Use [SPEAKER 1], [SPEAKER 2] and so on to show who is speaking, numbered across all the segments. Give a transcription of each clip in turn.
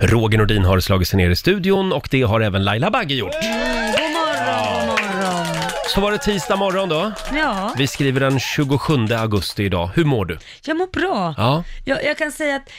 [SPEAKER 1] Roger Nordin har slagit sig ner i studion och det har även Laila Bagge gjort.
[SPEAKER 2] God morgon, god morgon.
[SPEAKER 1] Så var det tisdag morgon då.
[SPEAKER 2] Ja,
[SPEAKER 1] Vi skriver den 27 augusti idag. Hur mår du?
[SPEAKER 2] jag mår bra.
[SPEAKER 1] Ja.
[SPEAKER 2] Jag, jag kan säga att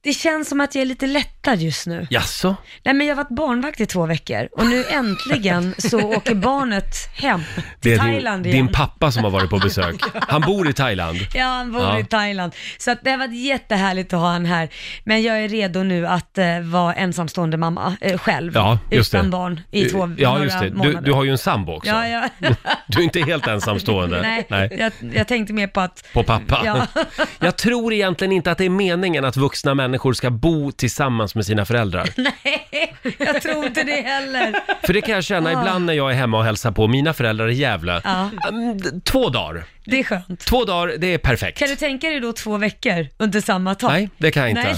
[SPEAKER 2] det känns som att jag är lite lättad just nu.
[SPEAKER 1] Jaså?
[SPEAKER 2] Nej men jag har varit barnvakt i två veckor och nu äntligen så åker barnet hem till
[SPEAKER 1] Det är din,
[SPEAKER 2] Thailand igen.
[SPEAKER 1] din pappa som har varit på besök. Han bor i Thailand.
[SPEAKER 2] Ja, han bor
[SPEAKER 1] Ja.
[SPEAKER 2] i Thailand. Så att det har varit jättehärligt att ha han här. Men jag är redo nu att eh, vara ensamstående mamma eh, själv.
[SPEAKER 1] Ja, just
[SPEAKER 2] utan
[SPEAKER 1] det.
[SPEAKER 2] barn i två
[SPEAKER 1] Eh, Ja,
[SPEAKER 2] några
[SPEAKER 1] just det. Du,
[SPEAKER 2] månader.
[SPEAKER 1] du har ju en sambo också.
[SPEAKER 2] Ja, ja.
[SPEAKER 1] Du är inte helt ensamstående.
[SPEAKER 2] Nej, Jag, jag tänkte mer på att...
[SPEAKER 1] På pappa.
[SPEAKER 2] Ja.
[SPEAKER 1] Jag tror egentligen inte att det är meningen att vuxna människor ska bo tillsammans med sina föräldrar.
[SPEAKER 2] Nej, jag tror inte det heller.
[SPEAKER 1] För det kan jag känna ibland när jag är hemma och hälsar på mina föräldrar i Gävle.
[SPEAKER 2] Ja.
[SPEAKER 1] Mm, d- Två dagar.
[SPEAKER 2] Det är skönt.
[SPEAKER 1] Två dagar, det är perfekt.
[SPEAKER 2] Kan du tänka dig då två veckor under samma tak?
[SPEAKER 1] Nej, det kan jag inte.
[SPEAKER 2] Nej,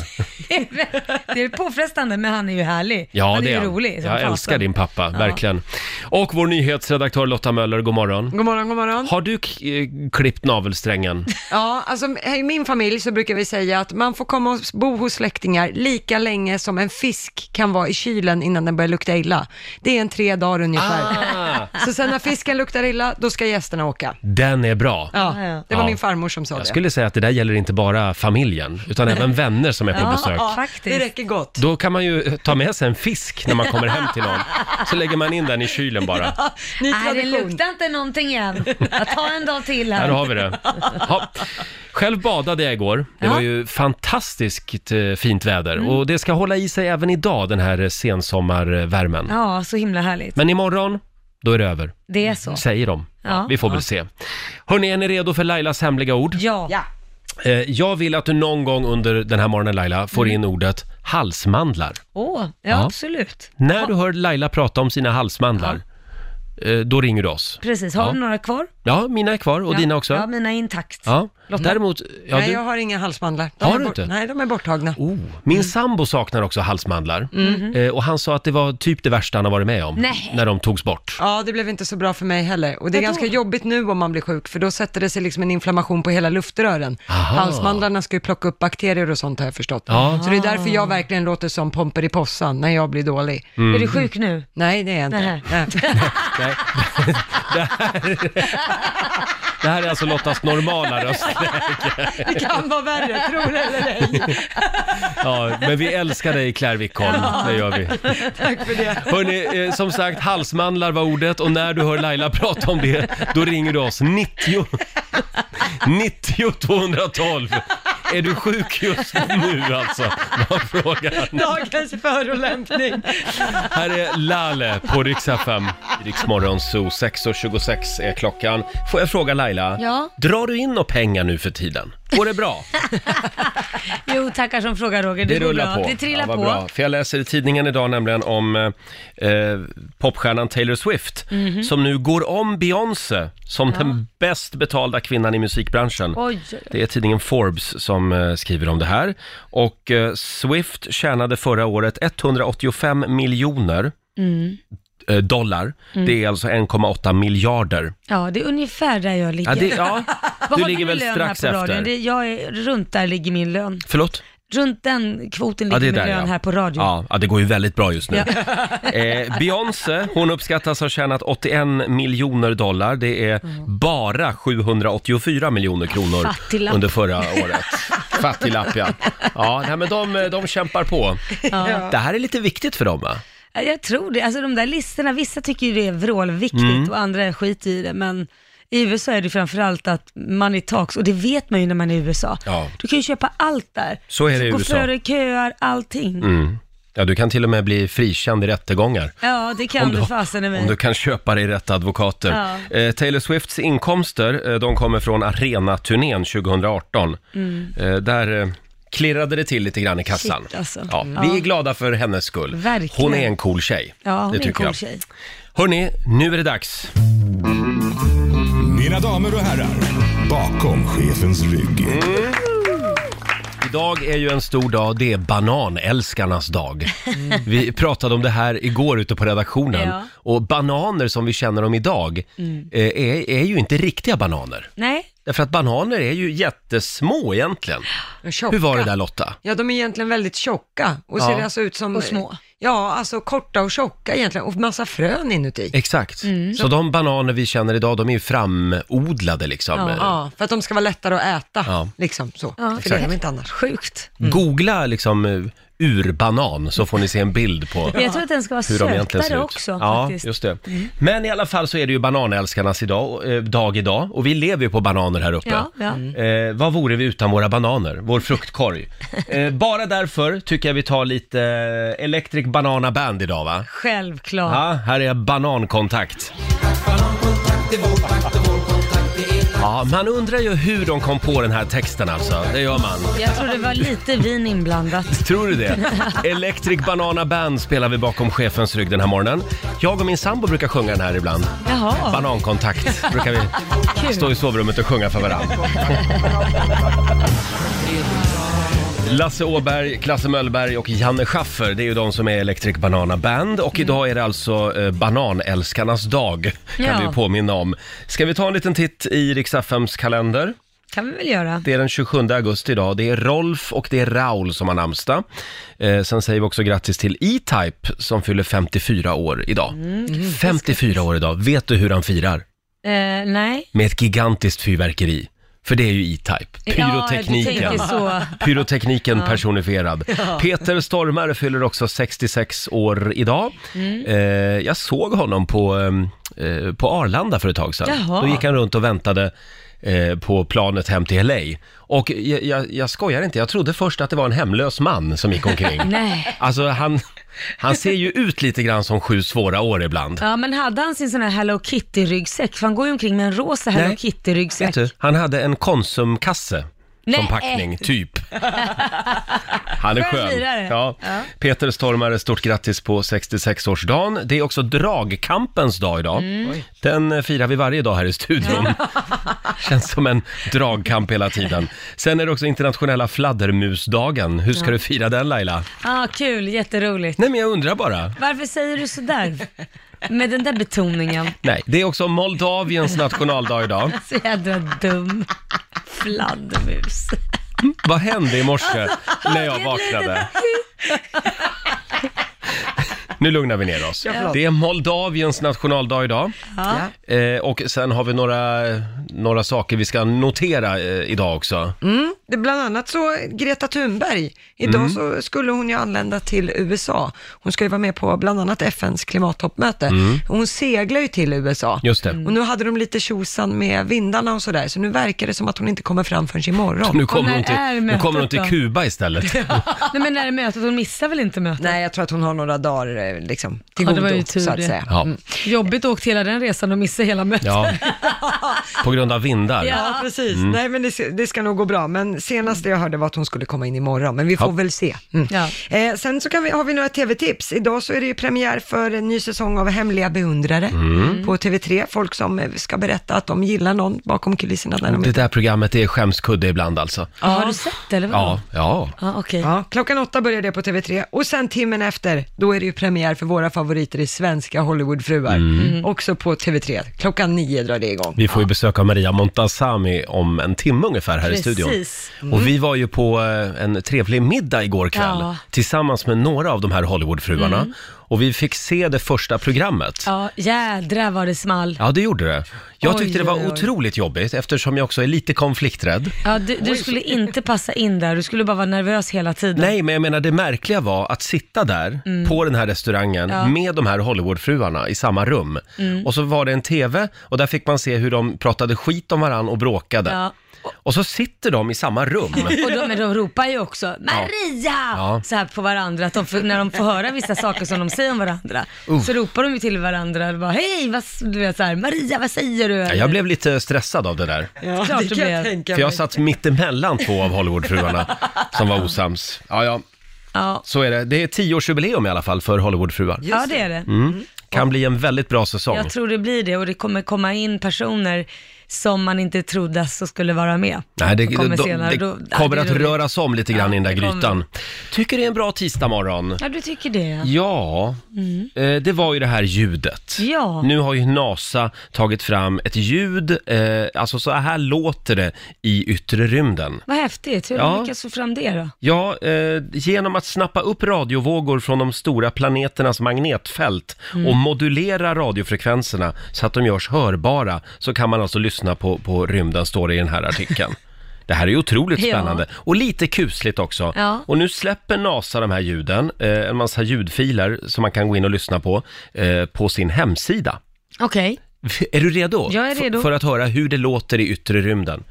[SPEAKER 2] det är väl- det är påfrestande, men han är ju härlig.
[SPEAKER 1] Ja,
[SPEAKER 2] han är
[SPEAKER 1] det
[SPEAKER 2] ju
[SPEAKER 1] är han.
[SPEAKER 2] rolig. som
[SPEAKER 1] Jag
[SPEAKER 2] fasen.
[SPEAKER 1] älskar din pappa,
[SPEAKER 2] Ja.
[SPEAKER 1] verkligen. Och vår nyhetsredaktör Lotta Möller, god morgon.
[SPEAKER 3] God morgon, god morgon.
[SPEAKER 1] Har du k- eh, klippt navelsträngen?
[SPEAKER 3] Ja, alltså, I min familj så brukar vi säga att man får komma och bo hos släktingar lika länge som en fisk kan vara i kylen innan den börjar lukta illa. Det är en tre dagar ungefär.
[SPEAKER 1] Ah,
[SPEAKER 3] Så sen när fisken luktar illa, då ska gästerna åka.
[SPEAKER 1] den är bra.
[SPEAKER 3] Ja,
[SPEAKER 2] Ah, Ja.
[SPEAKER 3] det var
[SPEAKER 1] Ja.
[SPEAKER 3] min farmor som sa
[SPEAKER 1] Jag
[SPEAKER 3] det.
[SPEAKER 1] skulle säga att det där gäller inte bara familjen, utan även vänner som är på
[SPEAKER 2] Ja,
[SPEAKER 1] besök.
[SPEAKER 3] Ja,
[SPEAKER 2] Faktiskt.
[SPEAKER 3] det räcker gott.
[SPEAKER 1] Då kan man ju eh, ta med sig en fisk när man kommer hem till någon. Så lägger man in den i kylen bara.
[SPEAKER 3] Ny
[SPEAKER 2] Nej, Äh, det
[SPEAKER 3] tradition.
[SPEAKER 2] luktar inte någonting än. Jag tar en dag till
[SPEAKER 1] Där
[SPEAKER 2] här.
[SPEAKER 1] har vi det. Ja. Själv badade jag igår. Det var ju fantastiskt eh, fint väder
[SPEAKER 2] Mm.
[SPEAKER 1] och det ska hålla i sig även idag, den här eh, sensommarvärmen.
[SPEAKER 2] Ja, så himla härligt.
[SPEAKER 1] Men imorgon, då är det över,
[SPEAKER 2] Det är så.
[SPEAKER 1] säger de.
[SPEAKER 2] Ja.
[SPEAKER 1] Vi får väl se. Hörni, är ni redo för Lailas hemliga ord?
[SPEAKER 2] Ja.
[SPEAKER 3] Ja.
[SPEAKER 1] Eh, jag vill att du någon gång under den här morgonen, Laila, får
[SPEAKER 2] Mm.
[SPEAKER 1] in ordet halsmandlar.
[SPEAKER 2] Åh, ja,
[SPEAKER 1] Ja.
[SPEAKER 2] absolut.
[SPEAKER 1] När du hör Laila prata om sina halsmandlar, eh, då ringer du oss.
[SPEAKER 2] Precis. Har
[SPEAKER 1] Ja.
[SPEAKER 2] du några kvar?
[SPEAKER 1] Ja, mina är kvar och
[SPEAKER 2] ja.
[SPEAKER 1] dina också.
[SPEAKER 2] Ja,
[SPEAKER 1] Ja.
[SPEAKER 2] mina är intakt.
[SPEAKER 1] Däremot, ja,
[SPEAKER 3] Nej,
[SPEAKER 1] du...
[SPEAKER 3] jag har inga halsmandlar. De
[SPEAKER 1] Har
[SPEAKER 3] är
[SPEAKER 1] du
[SPEAKER 3] bort-
[SPEAKER 1] inte?
[SPEAKER 3] Nej, de är borttagna.
[SPEAKER 1] Oh, min
[SPEAKER 2] Mm.
[SPEAKER 1] sambo saknar också halsmandlar. Eh, och han sa att det var typ det värsta han har varit med om,
[SPEAKER 2] Mm-hmm. Nej.
[SPEAKER 1] när de togs bort.
[SPEAKER 3] Ja, det blev inte så bra för mig heller. Och det är
[SPEAKER 2] Vadå?
[SPEAKER 3] ganska jobbigt nu om man blir sjuk, för då sätter det sig liksom en inflammation på hela luftrören.
[SPEAKER 1] Aha.
[SPEAKER 3] Halsmandlarna ska ju plocka upp bakterier och sånt har jag förstått.
[SPEAKER 1] Ja.
[SPEAKER 3] Så det är därför jag verkligen låter som Pomperipossan när jag blir dålig.
[SPEAKER 1] Mm.
[SPEAKER 2] Är du sjuk nu?
[SPEAKER 3] Nej, det är jag inte.
[SPEAKER 2] Nähä.
[SPEAKER 3] Nej.
[SPEAKER 1] Nej. Det, här, det här är alltså Lottas normala röst.
[SPEAKER 3] Det kan vara värre, tror det eller ej.
[SPEAKER 1] Ja, men vi älskar dig Claire Wickholm, det gör vi.
[SPEAKER 3] Tack för det.
[SPEAKER 1] Hörni, eh, som sagt, halsmandlar var ordet och när du hör Laila prata om det, då ringer du oss 90 90 212. Är du sjuk just nu alltså? Var frågan.
[SPEAKER 3] Dagens förolämpning.
[SPEAKER 1] Här är Lalle på Rix FM. Rix Morgonzoo, 6.26 är klockan. Får jag fråga Laila?
[SPEAKER 2] Ja.
[SPEAKER 1] Drar du in några pengar nu för tiden? Går det bra?
[SPEAKER 2] Jo, tackar som frågar Roger. Det,
[SPEAKER 1] Det
[SPEAKER 2] går
[SPEAKER 1] rullar
[SPEAKER 2] bra.
[SPEAKER 1] på.
[SPEAKER 2] Det trillar
[SPEAKER 1] ja, vad
[SPEAKER 2] på.
[SPEAKER 1] Bra. För jag läser i tidningen idag nämligen om eh, eh, popstjärnan Taylor Swift
[SPEAKER 2] Mhm.
[SPEAKER 1] som nu går om Beyoncé som den bäst betalda kvinnan i musikbranschen.
[SPEAKER 2] Oj, oj, oj.
[SPEAKER 1] Det är tidningen Forbes som eh, skriver om det här. Och eh, Swift tjänade förra året 185 miljoner
[SPEAKER 2] Mm.
[SPEAKER 1] eh, dollar. Det är alltså 1,8 miljarder.
[SPEAKER 2] Ja, det är ungefär där jag ligger.
[SPEAKER 1] Ja, det, ja,
[SPEAKER 2] Vad
[SPEAKER 1] du
[SPEAKER 2] har
[SPEAKER 1] ligger
[SPEAKER 2] vi
[SPEAKER 1] väl
[SPEAKER 2] lön
[SPEAKER 1] strax
[SPEAKER 2] här på
[SPEAKER 1] efter.
[SPEAKER 2] radion? Det, jag är, runt där ligger min lön.
[SPEAKER 1] Förlåt?
[SPEAKER 2] Runt den kvoten
[SPEAKER 1] Ja,
[SPEAKER 2] ligger
[SPEAKER 1] det är
[SPEAKER 2] min
[SPEAKER 1] där,
[SPEAKER 2] lön
[SPEAKER 1] ja.
[SPEAKER 2] här på radion.
[SPEAKER 1] Ja, ja, det går ju väldigt bra just nu. Eh, Beyoncé, hon uppskattas ha tjänat 81 miljoner dollar. Det är bara 784 miljoner kronor
[SPEAKER 2] Mm. Fattiglapp.
[SPEAKER 1] under förra året. Fattiglapp, ja. Ja, nej, men de, de kämpar på. Det här är lite viktigt för dem, va?
[SPEAKER 2] Ja, Jag tror det. Alltså de där listorna, vissa tycker ju det är vrålviktigt
[SPEAKER 1] Mm.
[SPEAKER 2] och andra skiter i det, men i USA är det framförallt att money talks och det vet man ju när man är i USA.
[SPEAKER 1] Ja.
[SPEAKER 2] Du kan ju köpa allt där.
[SPEAKER 1] Så är det i
[SPEAKER 2] Gå
[SPEAKER 1] USA. Mm.
[SPEAKER 2] före köer, allting.
[SPEAKER 1] Ja, du kan till och med bli frikänd i rättegångar.
[SPEAKER 2] Ja, det kan du fasen i mig.
[SPEAKER 1] om du kan köpa dig rätt advokater. Eh, Taylor Swifts inkomster, eh, de kommer från arenaturnén 2018. Eh, där eh, klirrade det till lite grann i kassan.
[SPEAKER 2] Mm. Shit, alltså.
[SPEAKER 1] ja,
[SPEAKER 2] Mm.
[SPEAKER 1] Vi är
[SPEAKER 2] Ja.
[SPEAKER 1] glada för hennes skull.
[SPEAKER 2] Verkligen.
[SPEAKER 1] Hon är en cool tjej.
[SPEAKER 2] Ja, hon
[SPEAKER 1] det
[SPEAKER 2] är en
[SPEAKER 1] tycker
[SPEAKER 2] cool
[SPEAKER 1] jag.
[SPEAKER 2] tjej.
[SPEAKER 1] Hörni, nu är det dags.
[SPEAKER 4] Mina damer och herrar, bakom chefens rygg.
[SPEAKER 1] Idag är ju en stor dag, det är bananälskarnas dag. Vi pratade om det här igår ute på redaktionen.
[SPEAKER 2] Mm. Ja. Mm.
[SPEAKER 1] Och bananer som vi känner dem idag eh, är, är ju inte riktiga bananer.
[SPEAKER 2] Nej,
[SPEAKER 1] Därför att bananer är ju jättesmå egentligen.
[SPEAKER 3] Tjocka.
[SPEAKER 1] Hur var det där Lotta?
[SPEAKER 3] Ja, de är egentligen väldigt tjocka och
[SPEAKER 1] Ja.
[SPEAKER 3] ser alltså ut som...
[SPEAKER 2] Och små.
[SPEAKER 3] Ja, alltså korta och tjocka egentligen och massa frön inuti.
[SPEAKER 1] Exakt.
[SPEAKER 2] Mm.
[SPEAKER 1] Så de bananer vi känner idag, de är ju framodlade liksom.
[SPEAKER 2] Ja.
[SPEAKER 1] Eh,
[SPEAKER 3] Ja, för att de ska vara lättare att äta,
[SPEAKER 1] Ja.
[SPEAKER 3] liksom så.
[SPEAKER 2] Ja,
[SPEAKER 3] för det är
[SPEAKER 2] exakt.
[SPEAKER 3] de inte annars.
[SPEAKER 2] Sjukt.
[SPEAKER 1] Googla liksom eh, urbanan så får ni se en bild på
[SPEAKER 2] Men jag tror att den ska vara
[SPEAKER 1] hur de egentligen ser
[SPEAKER 2] sötare
[SPEAKER 1] ut.
[SPEAKER 2] också
[SPEAKER 1] ja,
[SPEAKER 2] faktiskt. Mm.
[SPEAKER 1] just det. Men i alla fall så är det ju bananälskarnas idag, eh, dag idag och vi lever ju på bananer här uppe.
[SPEAKER 2] Ja, Mm. ja.
[SPEAKER 1] Eh, vad vore vi utan våra bananer, vår fruktkorg? Eh, bara därför tycker jag vi tar lite eh, Electric Banana Band idag va?
[SPEAKER 2] Självklart.
[SPEAKER 1] Ja, här är Banankontakt. Ja, man undrar ju hur de kom på den här texten alltså, det gör man.
[SPEAKER 2] Jag tror det var lite vin inblandat.
[SPEAKER 1] Tror du det? Electric Banana Band spelar vi bakom chefens rygg den här morgonen. Jag och min sambo brukar sjunga den här ibland.
[SPEAKER 2] Jaha.
[SPEAKER 1] Banankontakt brukar vi stå i sovrummet och sjunga för varandra. Lasse Åberg, Klasse Möllberg och Janne Schaffer, det är ju de som är Electric Banana Band och idag är det alltså eh, bananälskarnas dag, kan
[SPEAKER 2] Ja.
[SPEAKER 1] vi ju påminna om. Ska vi ta en liten titt i Rix FMs kalender?
[SPEAKER 2] kan vi väl göra.
[SPEAKER 1] Det är den 27 augusti idag. Det är Rolf och det är Raul som har namnsdag. Eh, sen säger vi också grattis till E-Type som fyller 54 år idag. 54 år idag. Vet du hur han firar?
[SPEAKER 2] Eh, nej.
[SPEAKER 1] Med ett gigantiskt fyrverkeri. För det är ju E-Type. Pyrotekniken.
[SPEAKER 2] Ja, du tänker så.
[SPEAKER 1] Pyrotekniken personifierad. Peter Stormare fyller också 66 år idag.
[SPEAKER 2] Mm.
[SPEAKER 1] Eh, jag såg honom på, eh, eh, på Arlanda för ett tag sedan.
[SPEAKER 2] Jaha.
[SPEAKER 1] Då gick han runt och väntade eh, på planet hem till LA. Och jag, jag, jag skojar inte, jag trodde först att det var en hemlös man som gick omkring.
[SPEAKER 2] Nej.
[SPEAKER 1] Alltså han, han ser ju ut lite grann som sju svåra år ibland.
[SPEAKER 2] Ja, men hade han sin sån här Hello Kitty-ryggsäck? För han går ju omkring med en rosa Hello
[SPEAKER 1] Nej. Vet
[SPEAKER 2] Kitty-ryggsäck.
[SPEAKER 1] du, han hade en Konsumkasse som
[SPEAKER 2] Nej.
[SPEAKER 1] packning, typ. Han är
[SPEAKER 2] Skön
[SPEAKER 1] skön.
[SPEAKER 2] lirare.
[SPEAKER 1] Ja. Peter Stormare, stort grattis på 66-årsdagen. Det är också dragkampens dag idag.
[SPEAKER 2] Mm.
[SPEAKER 1] Den eh, firar vi varje dag här i studion. Känns som en dragkamp hela tiden. Sen är det också internationella fladdermusdagen. Hur ska du fira den Laila?
[SPEAKER 2] Ja, ah, kul. Jätteroligt.
[SPEAKER 1] Nej men jag undrar bara.
[SPEAKER 2] Varför säger du sådär? Med den där betoningen.
[SPEAKER 1] Nej, det är också Moldaviens nationaldag idag.
[SPEAKER 2] Så jädra dum. Fladdermus.
[SPEAKER 1] Vad hände i morse när jag vaknade? Nu lugnar vi ner oss. Det är Moldaviens nationaldag idag.
[SPEAKER 2] Ja.
[SPEAKER 1] Eh, och sen har vi några, några saker vi ska notera eh, idag också.
[SPEAKER 3] Mm. Det är bland annat så Greta Thunberg, idag
[SPEAKER 2] Mm.
[SPEAKER 3] så skulle hon ju anlända till USA. Hon ska ju vara med på bland annat FNs klimattoppmöte.
[SPEAKER 2] Mm.
[SPEAKER 3] Hon seglar ju till USA.
[SPEAKER 1] Just det.
[SPEAKER 3] Och nu hade de lite tjosan med vindarna och sådär, så nu verkar det som att hon inte kommer fram förrän imorgon.
[SPEAKER 1] Nu kommer
[SPEAKER 2] när
[SPEAKER 1] hon
[SPEAKER 2] är
[SPEAKER 1] till, nu kommer hon
[SPEAKER 2] mötet
[SPEAKER 1] till
[SPEAKER 2] då?
[SPEAKER 1] Kuba istället.
[SPEAKER 2] Nej, men när är mötet? Hon missar väl inte mötet?
[SPEAKER 3] Nej, jag tror att hon har några dagar eh, liksom, till
[SPEAKER 2] Ja, det
[SPEAKER 3] godo,
[SPEAKER 2] var ju tur
[SPEAKER 3] så att
[SPEAKER 2] det.
[SPEAKER 3] säga.
[SPEAKER 1] Ja.
[SPEAKER 2] Jobbigt att åka hela den resan och missa hela mötet.
[SPEAKER 1] Ja. På grund av vindar.
[SPEAKER 3] Ja, precis.
[SPEAKER 1] Mm.
[SPEAKER 3] Nej, men det, det ska nog gå bra. Men senaste jag hörde var att hon skulle komma in imorgon, men vi får
[SPEAKER 1] Ja.
[SPEAKER 3] väl se. Mm.
[SPEAKER 2] Ja.
[SPEAKER 3] Eh, sen så kan vi, har vi några tv-tips. Idag så är det ju premiär för en ny säsong av Hemliga beundrare
[SPEAKER 1] Mm.
[SPEAKER 3] på TV3. Folk som eh, ska berätta att de gillar någon bakom kulisserna. När de...
[SPEAKER 1] Det där programmet det är skämskudde ibland alltså.
[SPEAKER 2] Ja, Har du sett det eller vad?
[SPEAKER 1] Ja, ja.
[SPEAKER 2] Ja, okej.
[SPEAKER 3] Ja, klockan åtta börjar det på TV3 och sen timmen efter, då är det ju premiär för våra favoriter i svenska Hollywoodfruar.
[SPEAKER 1] Mm.
[SPEAKER 3] Också på TV3. Klockan nio drar det igång.
[SPEAKER 1] Vi får ju besöka Maria Montazami om en timme ungefär här i
[SPEAKER 2] Precis. Mm.
[SPEAKER 1] studion. Och vi var ju på eh, en trevlig middag igår kväll
[SPEAKER 2] Ja. Mm.
[SPEAKER 1] tillsammans med några av de här Hollywoodfruarna. Och vi fick se det första programmet. Ja.
[SPEAKER 2] Ja, jädrar vad det small.
[SPEAKER 1] det gjorde det. Jag
[SPEAKER 2] Oj,
[SPEAKER 1] tyckte det var
[SPEAKER 2] oj, oj.
[SPEAKER 1] otroligt jobbigt eftersom jag också är lite konflikträdd.
[SPEAKER 2] Ja, du, du skulle inte passa in där, du skulle bara vara nervös hela tiden.
[SPEAKER 1] Nej, men jag menar det märkliga var att sitta där
[SPEAKER 2] Mm.
[SPEAKER 1] på den här restaurangen med de här Hollywoodfruarna i samma rum.
[SPEAKER 2] Mm.
[SPEAKER 1] Och så var det en TV och där fick man se hur de pratade skit om varann och bråkade.
[SPEAKER 2] Ja.
[SPEAKER 1] Och så sitter de i samma rum.
[SPEAKER 2] Och de, men de ropar ju också “Maria!”
[SPEAKER 1] Ja.
[SPEAKER 2] så här på varandra, att de får, när de får höra vissa saker som de säger om varandra. Så ropar de ju till varandra, bara, “Hej, vad, s- du vet, så här, Maria, vad säger du?”
[SPEAKER 1] Ja, jag blev lite stressad av det där.
[SPEAKER 3] Ja,
[SPEAKER 2] Klart det blev.
[SPEAKER 3] tänka
[SPEAKER 1] För jag satt mittemellan två av Hollywoodfruarna som var osams. Ja, ja,
[SPEAKER 2] ja.
[SPEAKER 1] så är det. Det är tioårsjubileum i alla fall för Hollywoodfruar.
[SPEAKER 2] ja,
[SPEAKER 1] Mm.
[SPEAKER 2] det är det.
[SPEAKER 1] Kan bli en väldigt bra säsong.
[SPEAKER 2] Jag tror det blir det och det kommer komma in personer som man inte trodde så skulle vara med.
[SPEAKER 1] Nej, det,
[SPEAKER 2] Som kommer
[SPEAKER 1] de,
[SPEAKER 2] senare.
[SPEAKER 1] det
[SPEAKER 2] Då- ja,
[SPEAKER 1] kommer
[SPEAKER 2] det är
[SPEAKER 1] att
[SPEAKER 2] roligt.
[SPEAKER 1] röras om lite grann i den där
[SPEAKER 2] det kommer.
[SPEAKER 1] grytan. Tycker det är en bra tisdagmorgon.
[SPEAKER 2] Ja, du tycker det ja.
[SPEAKER 1] Ja, eh, det var ju det här ljudet.
[SPEAKER 2] Mm. Ja.
[SPEAKER 1] Nu har ju NASA tagit fram ett ljud, eh, alltså så här låter det i yttre rymden.
[SPEAKER 2] Vad häftigt, hur har
[SPEAKER 1] Ja.
[SPEAKER 2] du lyckats få fram det då?
[SPEAKER 1] Ja, eh, genom att snappa upp radiovågor från de stora planeternas magnetfält och modulera radiofrekvenserna så att de görs hörbara så kan man alltså lyssna på, på rymden, står det i den här artikeln. Det här är ju otroligt
[SPEAKER 2] Ja.
[SPEAKER 1] spännande och lite kusligt också.
[SPEAKER 2] Ja.
[SPEAKER 1] Och nu släpper NASA de här ljuden, eh, en massa ljudfiler som man kan gå in och lyssna på, eh, på sin hemsida.
[SPEAKER 2] Okej,
[SPEAKER 1] Är du redo?
[SPEAKER 2] Jag är
[SPEAKER 1] F-
[SPEAKER 2] redo.
[SPEAKER 1] För att höra hur det låter i yttre rymden.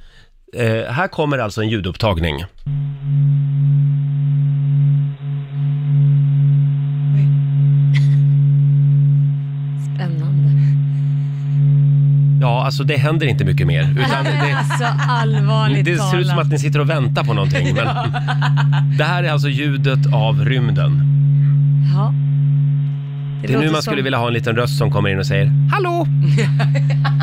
[SPEAKER 1] Eh, här kommer alltså en ljudupptagning.
[SPEAKER 2] spännande.
[SPEAKER 1] Ja, alltså det händer inte mycket mer. Utan det,
[SPEAKER 2] Alltså allvarligt
[SPEAKER 1] det ser ut som att ni sitter och väntar på någonting. Men det här är alltså ljudet av rymden.
[SPEAKER 2] Ja.
[SPEAKER 1] Det är nu
[SPEAKER 2] låter
[SPEAKER 1] man
[SPEAKER 2] som-
[SPEAKER 1] skulle vilja ha en liten röst som kommer in och säger
[SPEAKER 3] Hallå!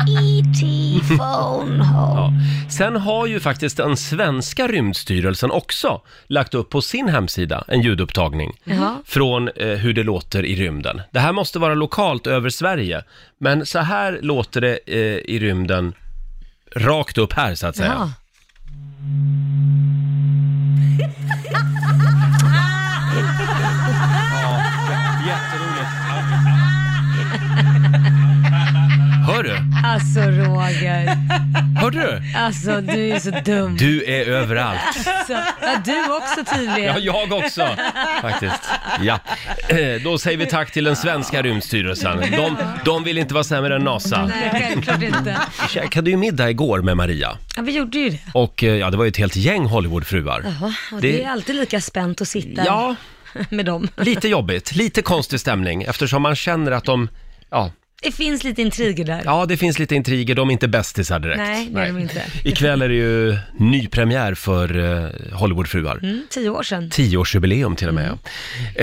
[SPEAKER 2] E.T. phone home.
[SPEAKER 1] ja. Mm. Sen har ju faktiskt den svenska rymdstyrelsen också lagt upp på sin hemsida en ljudupptagning
[SPEAKER 2] Ja.
[SPEAKER 1] från eh, hur det låter i rymden. Det här måste vara lokalt över Sverige, men så här låter det eh, i rymden rakt upp här så att säga.
[SPEAKER 2] Ja.
[SPEAKER 1] Jätteroligt. Hör du?
[SPEAKER 2] Alltså Roger,
[SPEAKER 1] Hörde du?
[SPEAKER 2] alltså du är så dum.
[SPEAKER 1] Du är överallt.
[SPEAKER 2] Så, ja, du också tydligen.
[SPEAKER 1] Ja, jag också faktiskt. Ja. Eh, Då säger vi tack till den svenska rymdstyrelsen. De, de vill inte vara sämre än NASA.
[SPEAKER 2] Nej, självklart inte.
[SPEAKER 1] Vi käkade ju middag igår med Maria
[SPEAKER 2] Ja, vi gjorde ju det.
[SPEAKER 1] och eh, ja, det var ju ett helt gäng Hollywoodfruar.
[SPEAKER 2] Ja, och
[SPEAKER 1] Det-
[SPEAKER 2] det... är alltid lika spänt att sitta
[SPEAKER 1] Ja,
[SPEAKER 2] med dem.
[SPEAKER 1] lite jobbigt, lite konstig stämning eftersom man känner att de, ja,
[SPEAKER 2] Det finns lite intriger där.
[SPEAKER 1] ja det finns lite intriger, de är inte bästisar direkt.
[SPEAKER 2] Nej, det är de inte.
[SPEAKER 1] Ikväll är det ju nypremiär för eh, Hollywoodfruar.
[SPEAKER 2] Mm, tio år sedan.
[SPEAKER 1] Tioårsjubileum till och med. ja.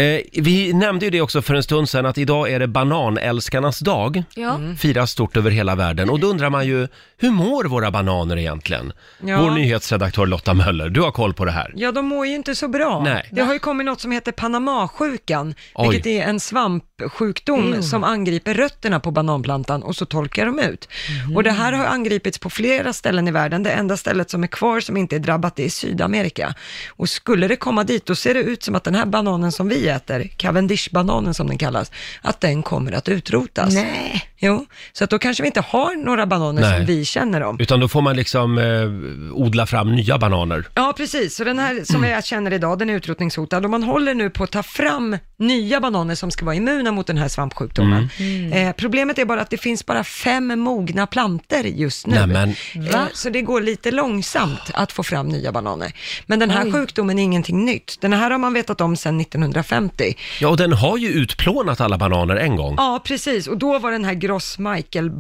[SPEAKER 3] Mm.
[SPEAKER 1] Eh, vi nämnde ju det också för en stund sedan att idag är det bananälskarnas dag.
[SPEAKER 2] Ja.
[SPEAKER 3] Mm.
[SPEAKER 1] Firas stort över hela världen och då undrar man ju, hur mår våra bananer egentligen?
[SPEAKER 3] Ja.
[SPEAKER 1] Vår nyhetsredaktör Lotta Möller, du har koll på det här.
[SPEAKER 3] Ja, de mår ju inte så bra.
[SPEAKER 1] Nej.
[SPEAKER 3] Det har ju kommit något som heter Panamasjukan,
[SPEAKER 1] Oj.
[SPEAKER 3] vilket är en svampsjukdom som angriper rötterna på bananplantan och så torkar de ut. Och det här har angripits på flera ställen i världen. Det enda stället som är kvar som inte är drabbat det är Sydamerika. Och skulle det komma dit, då ser det ut som att den här bananen som vi äter, Cavendish-bananen som den kallas, att den kommer att utrotas.
[SPEAKER 2] Nej.
[SPEAKER 3] Jo, så att då kanske vi inte har några bananer
[SPEAKER 1] Nej.
[SPEAKER 3] som vi känner om.
[SPEAKER 1] Utan då får man liksom eh, odla fram nya bananer.
[SPEAKER 3] Ja, precis. Så den här som
[SPEAKER 1] Mm.
[SPEAKER 3] jag känner idag, den är utrotningshotad och man håller nu på att ta fram nya bananer som ska vara immuna mot den här svampsjukdomen.
[SPEAKER 1] Mm.
[SPEAKER 3] Eh, problemet är bara att det finns bara fem mogna planter just nu.
[SPEAKER 1] Nämen.
[SPEAKER 3] Eh, så det går lite långsamt att få fram nya bananer. Men den här sjukdomen är ingenting nytt. Den här har man vetat om sedan 1950.
[SPEAKER 1] Ja, och den har ju utplånat alla bananer en gång.
[SPEAKER 3] Ja, precis. Och då var den här Gross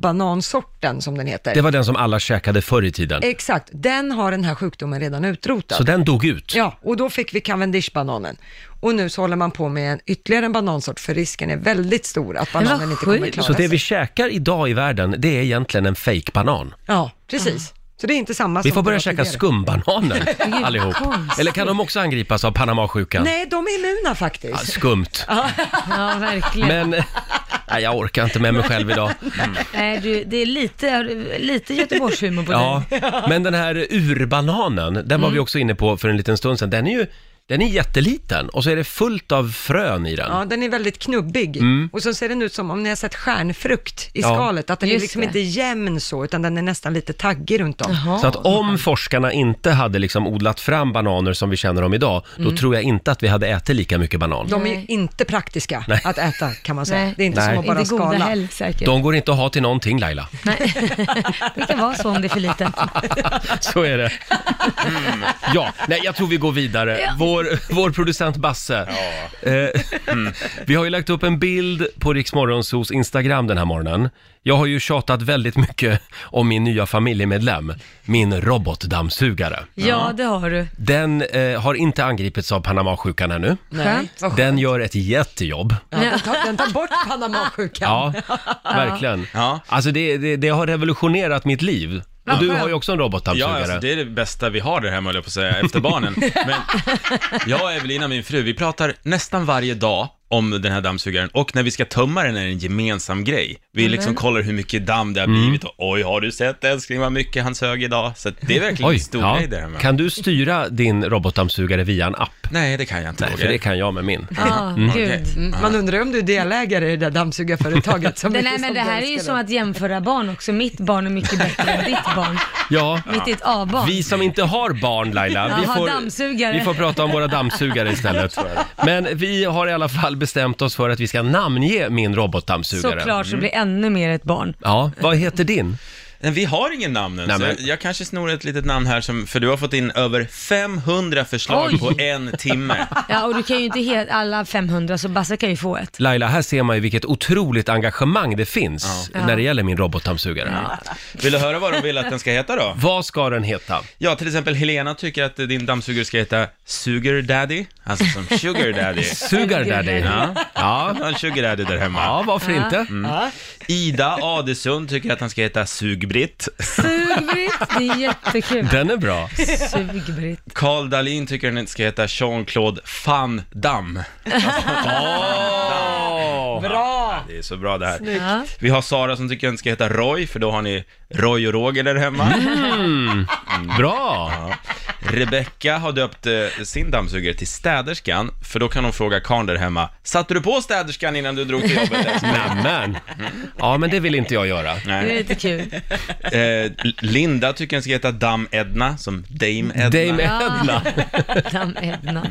[SPEAKER 3] Michael-banansorten, som den heter.
[SPEAKER 1] Det var den som alla käkade förr i tiden.
[SPEAKER 3] Exakt. Den har den här sjukdomen redan utrotat.
[SPEAKER 1] Så den dog ut.
[SPEAKER 3] Ja, och då fick vi Cavendish-bananen. Och nu så håller man på med en, ytterligare en banansort, för risken är väldigt stor att
[SPEAKER 2] vad
[SPEAKER 3] bananen inte kommer
[SPEAKER 2] sjukt.
[SPEAKER 3] klara
[SPEAKER 1] Så det
[SPEAKER 3] sig.
[SPEAKER 1] vi käkar idag i världen, det är egentligen en fake banan.
[SPEAKER 3] Ja, precis. Så det är inte samma
[SPEAKER 1] Vi
[SPEAKER 3] som
[SPEAKER 1] får
[SPEAKER 3] det
[SPEAKER 1] börja
[SPEAKER 3] var
[SPEAKER 1] käka
[SPEAKER 3] tidigare.
[SPEAKER 1] skumbananer allihop.
[SPEAKER 2] konstigt.
[SPEAKER 1] Eller kan de också angripas av Panamasjukan?
[SPEAKER 3] Nej, de är immuna
[SPEAKER 1] Ja,
[SPEAKER 3] faktiskt.
[SPEAKER 1] Skumt.
[SPEAKER 2] Ja, verkligen.
[SPEAKER 1] Men nej, jag orkar inte med mig själv idag.
[SPEAKER 2] Nej, du, det är lite, lite Göteborgshumor på dig.
[SPEAKER 1] Ja, men den här urbananen, den var
[SPEAKER 3] Mm.
[SPEAKER 1] vi också inne på för en liten stund sedan. Den är ju den är jätteliten och så är det fullt av frön i den.
[SPEAKER 3] Ja, den är väldigt knubbig. Och så ser den ut som om ni har sett stjärnfrukt i
[SPEAKER 1] Ja.
[SPEAKER 3] skalet, att den är
[SPEAKER 2] Just
[SPEAKER 3] liksom
[SPEAKER 2] det.
[SPEAKER 3] inte jämn så, utan den är nästan lite taggig runt om.
[SPEAKER 1] Så att om forskarna inte hade liksom odlat fram bananer som vi känner dem idag, då tror jag inte att vi hade ätit lika mycket banan.
[SPEAKER 3] Mm. De är ju
[SPEAKER 2] Nej.
[SPEAKER 3] inte praktiska
[SPEAKER 1] Nej.
[SPEAKER 3] att äta, kan man säga.
[SPEAKER 2] Nej.
[SPEAKER 3] Det är inte
[SPEAKER 1] Nej.
[SPEAKER 3] som att bara
[SPEAKER 2] Inte goda
[SPEAKER 3] skala.
[SPEAKER 2] heller säkert.
[SPEAKER 1] De går inte att ha till någonting Laila.
[SPEAKER 2] Nej. Det kan vara så om det är för litet.
[SPEAKER 1] Så är det.
[SPEAKER 5] Mm.
[SPEAKER 1] Ja, nej, jag tror vi går vidare. Vår, vår producent Basse. Eh,
[SPEAKER 5] Mm.
[SPEAKER 1] Vi har ju lagt upp en bild på Riksmorgonsos Instagram den här morgonen. Jag har ju tjatat väldigt mycket om min nya familjemedlem, min robotdammsugare.
[SPEAKER 2] Ja, det har du.
[SPEAKER 1] Den eh, har inte angripits av Panamasjukan ännu.
[SPEAKER 3] Nej. Vad skönt.
[SPEAKER 1] Den gör ett jättejobb.
[SPEAKER 3] Ja, den, tar, den tar bort Panamasjukan.
[SPEAKER 1] Ja, verkligen.
[SPEAKER 5] Ja.
[SPEAKER 1] Alltså det, det, det har revolutionerat mitt liv. Och du har ju också en
[SPEAKER 5] Ja,
[SPEAKER 1] robotdammsugare.
[SPEAKER 5] alltså, det är det bästa vi har där hemma, höll jag på att säga, efter barnen. Men jag, Evelina, min fru, vi pratar nästan varje dag om den här dammsugaren och när vi ska tömma den är det en gemensam grej.
[SPEAKER 1] Mm.
[SPEAKER 5] Vi liksom kollar hur mycket damm det har blivit och oj, har du sett älskling vad mycket han sög idag? Så att det är verkligen en stor grej där hemma.
[SPEAKER 1] Kan du styra din robotdammsugare via en app?
[SPEAKER 5] Nej, det kan jag inte.
[SPEAKER 1] Nej, för
[SPEAKER 5] Roger.
[SPEAKER 1] det kan jag med min.
[SPEAKER 2] Ja, gud.
[SPEAKER 5] Okej.
[SPEAKER 3] Mm. Man undrar om du är delägare i det där dammsugarföretaget. Som
[SPEAKER 2] Det,
[SPEAKER 3] är
[SPEAKER 2] nej, men
[SPEAKER 3] som
[SPEAKER 2] det här är ju
[SPEAKER 3] älskar
[SPEAKER 2] som att jämföra barn också. Mitt barn är mycket bättre än ditt barn.
[SPEAKER 1] Ja,
[SPEAKER 2] Mitt är ett A-barn.
[SPEAKER 1] vi som inte har barn Laila, vi
[SPEAKER 2] Jaha,
[SPEAKER 1] får,
[SPEAKER 2] dammsugare.
[SPEAKER 1] vi får prata om våra dammsugare istället. Men vi har i alla fall bestämt oss för att vi ska namnge min robotdammsugare.
[SPEAKER 2] Såklart så blir ännu mer ett barn.
[SPEAKER 1] Ja, vad heter din?
[SPEAKER 5] Nej, vi har ingen namn än,
[SPEAKER 1] Nej,
[SPEAKER 5] så
[SPEAKER 1] men-
[SPEAKER 5] jag, jag kanske snor ett litet namn här, som, för du har fått in över 500 förslag
[SPEAKER 2] Oj.
[SPEAKER 5] på en timme.
[SPEAKER 2] Ja, och du kan ju inte helt alla 500, så Basse kan ju få ett.
[SPEAKER 1] Laila, här ser man ju vilket otroligt engagemang det finns
[SPEAKER 2] Ja.
[SPEAKER 1] när det gäller min robotdammsugare.
[SPEAKER 5] Vill du höra vad de vill att den ska heta då?
[SPEAKER 1] Vad ska den heta?
[SPEAKER 5] Ja, till exempel Helena tycker att din dammsugare ska heta Sugar Daddy, alltså som Sugar Daddy.
[SPEAKER 1] Sugar Daddy.
[SPEAKER 5] Ja,
[SPEAKER 1] Ja,
[SPEAKER 5] ja en Sugar Daddy där hemma.
[SPEAKER 1] ja varför inte?
[SPEAKER 2] Mm.
[SPEAKER 5] Ida Adesund tycker att han ska heta Sugbritt.
[SPEAKER 2] Sug-Britt, det är jättekul.
[SPEAKER 1] Den är bra.
[SPEAKER 2] Sug-Britt.
[SPEAKER 5] Carl Dahlin tycker att den ska heta Jean-Claude Van Damme. Bra! Det är så bra det här.
[SPEAKER 2] Ja.
[SPEAKER 5] Vi har Sara som tycker att den ska heta Roy, för då har ni Roy och Roger där hemma.
[SPEAKER 1] Bra!
[SPEAKER 5] Rebecka har döpt eh, sin dammsugare till städerskan, för då kan hon fråga karln där hemma, satte du på städerskan innan du drog till jobbet? älskling?"
[SPEAKER 1] Nämen! Ja, men det vill inte jag göra.
[SPEAKER 2] Det är
[SPEAKER 5] Nej.
[SPEAKER 2] lite kul.
[SPEAKER 5] Eh, Linda tycker den ska heta Dam Edna, som Dame Edna.
[SPEAKER 1] Dame
[SPEAKER 2] Ja.
[SPEAKER 1] Edna.
[SPEAKER 2] Damm Edna.